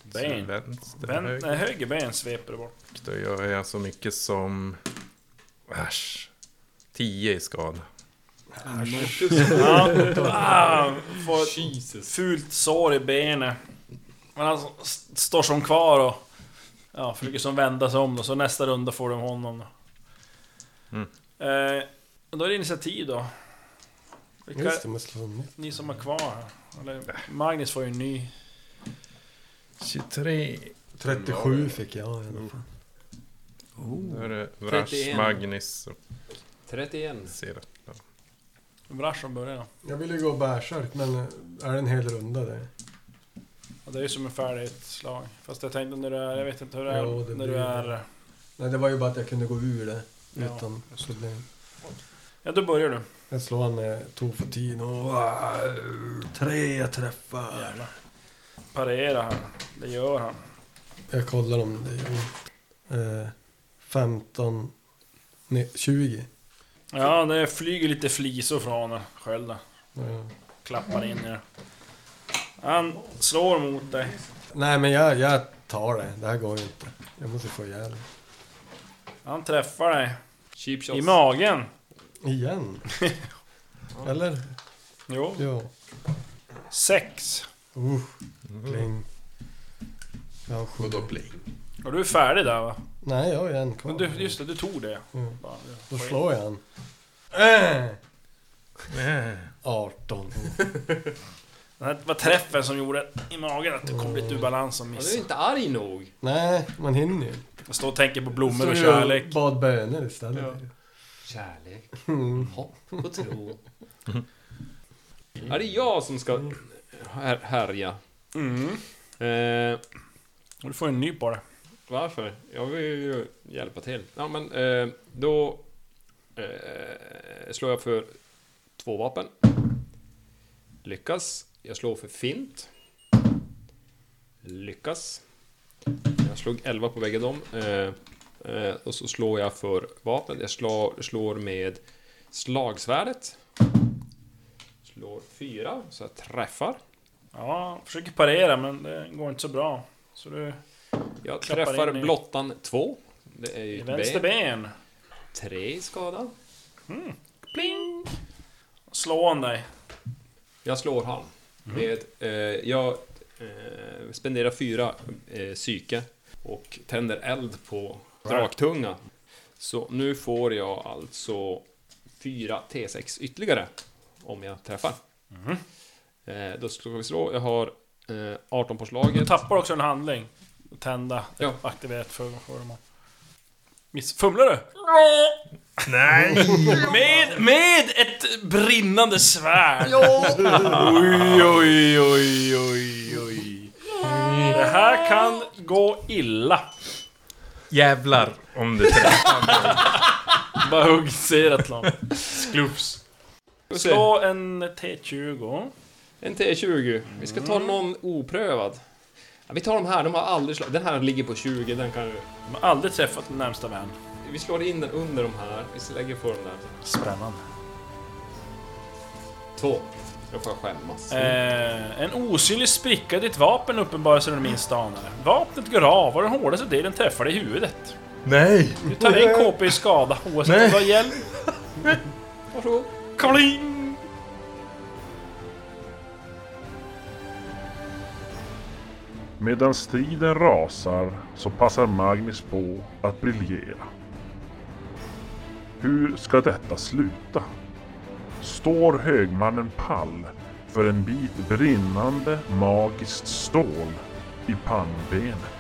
[SPEAKER 4] Det är
[SPEAKER 2] Ben.
[SPEAKER 4] ett Vänster,
[SPEAKER 2] Ben,
[SPEAKER 4] höger.
[SPEAKER 2] nej, höger ben sveper du bort.
[SPEAKER 4] Då gör jag så mycket som... Äsch. 10 i skada.
[SPEAKER 2] Ja, ah, får ett
[SPEAKER 7] Jesus.
[SPEAKER 2] fult sår i benet. Men han st- står som kvar och ja, försöker som vända sig om då, så nästa runda får du om honom. Då.
[SPEAKER 4] Mm.
[SPEAKER 2] Eh, då är det initiativ då. Vilka-
[SPEAKER 3] Just det, man slår om.
[SPEAKER 2] Ni som är kvar här. Eller, Magnus får ju en ny.
[SPEAKER 4] 23.
[SPEAKER 3] 37 fick jag i alla fall.
[SPEAKER 4] Då är det Vrash,
[SPEAKER 7] 31.
[SPEAKER 4] Magnus och
[SPEAKER 7] 31.
[SPEAKER 4] Serat.
[SPEAKER 2] Brash som börjar.
[SPEAKER 3] Jag ville gå bärsärk, men eh, är det en hel runda det?
[SPEAKER 2] Ja, det är ju som en färdighetsslag. Fast jag tänkte när du är, jag vet inte hur det är,
[SPEAKER 3] Jo, det
[SPEAKER 2] när
[SPEAKER 3] blir
[SPEAKER 2] du är...
[SPEAKER 3] det. Nej, det var ju bara att jag kunde gå ur det
[SPEAKER 2] Ja.
[SPEAKER 3] utan problem.
[SPEAKER 2] Ja, då börjar du.
[SPEAKER 3] Jag slår han eh, med Tofotin och... Wow, Tre träffar!
[SPEAKER 2] Jävlar. Parera här. Det gör han.
[SPEAKER 3] Jag kollar om det gör eh, 15... Nej, 20.
[SPEAKER 2] Ja, det flyger lite flisor från den, skölden.
[SPEAKER 3] Ja.
[SPEAKER 2] Klappar in i den. Han slår mot dig.
[SPEAKER 3] Nej, men jag, jag tar det. Det här går ju inte. Jag måste få ihjäl det.
[SPEAKER 2] Han träffar dig.
[SPEAKER 7] Cheap shots.
[SPEAKER 2] I magen.
[SPEAKER 3] Igen? Eller?
[SPEAKER 2] Jo.
[SPEAKER 3] Ja.
[SPEAKER 2] Sex.
[SPEAKER 3] Uh, pling. Jag har sju.
[SPEAKER 6] Vadå bling?
[SPEAKER 2] Och du är färdig där va?
[SPEAKER 3] Nej, jag har ju en kvar.
[SPEAKER 2] Men du, just det, du tog det.
[SPEAKER 3] Mm.
[SPEAKER 2] Bara,
[SPEAKER 3] Då slår jag en. Äh. 18.
[SPEAKER 2] Det här var träffen som gjorde i magen att du kom lite ur balans och
[SPEAKER 7] Ja, du är
[SPEAKER 2] missade.
[SPEAKER 7] inte arg nog.
[SPEAKER 3] Nej, man hinner ju.
[SPEAKER 2] Jag står och tänker på blommor
[SPEAKER 3] Så
[SPEAKER 2] och
[SPEAKER 3] jag
[SPEAKER 2] kärlek.
[SPEAKER 3] Bad böner istället.
[SPEAKER 7] Kärlek,
[SPEAKER 5] Mm.
[SPEAKER 7] hopp och tro. Ja, det är jag som ska här, härja.
[SPEAKER 2] Mm.
[SPEAKER 7] Eh,
[SPEAKER 2] Och du får en ny på det.
[SPEAKER 7] Varför? Jag vill ju hjälpa till. Ja, men eh, då eh, slår jag för två vapen. Lyckas. Jag slår för fint. Lyckas. Jag slog 11 på bägge dem. Eh, eh, och så slår jag för vapen. Jag slår, slår med slagsvärdet. Slår 4, så jag träffar.
[SPEAKER 2] Ja, försöker parera men det går inte så bra. Så du...
[SPEAKER 7] Jag
[SPEAKER 2] Klappar
[SPEAKER 7] träffar
[SPEAKER 2] in i-
[SPEAKER 7] blottan 2. Det är ju
[SPEAKER 2] I
[SPEAKER 7] ett
[SPEAKER 2] vänster
[SPEAKER 7] ben.
[SPEAKER 2] ben.
[SPEAKER 7] 3 i skada.
[SPEAKER 2] Pling! Slå an dig.
[SPEAKER 7] Jag slår han. Med, eh, jag eh, spenderar fyra eh, psyke och tänder eld på draktunga. Så nu får jag alltså fyra T6 ytterligare om jag träffar. Eh, då ska vi slå. Jag har eh, 18 på
[SPEAKER 2] Du
[SPEAKER 7] slaget.
[SPEAKER 2] tappar också en handling. Tända.
[SPEAKER 7] Ja.
[SPEAKER 2] Aktiverat för föremål. Miss... Fumlar du? Nej! med, med ett brinnande svärd!
[SPEAKER 8] Oj, oj, oj, oj, oj.
[SPEAKER 2] Det här kan gå illa.
[SPEAKER 9] Jävlar om du
[SPEAKER 2] Bara hugg Seratlon. Sklufs.
[SPEAKER 7] Ska vi se.
[SPEAKER 2] Slå en T20.
[SPEAKER 7] En T20. Vi ska ta någon oprövad. Ja, vi tar de här, de har aldrig slagit. Den här ligger på 20, den kan ju...
[SPEAKER 2] De har aldrig träffat den närmsta vän.
[SPEAKER 7] Vi slår in den under de här, vi lägger på den där.
[SPEAKER 2] Spännande.
[SPEAKER 7] Två. Då får jag skämmas.
[SPEAKER 2] Eh, en osynlig spricka i ditt vapen uppenbarar sig när du minst anar det. Vapnet går av och den hårdaste delen träffar dig i huvudet.
[SPEAKER 9] Nej!
[SPEAKER 2] Du tar en KP i skada oavsett om du har hjälp.
[SPEAKER 7] Varsågod.
[SPEAKER 2] Kabling!
[SPEAKER 1] Medan striden rasar så passar Magnus på att briljera. Hur ska detta sluta? Står högmannen pall för en bit brinnande magiskt stål i pannbenet?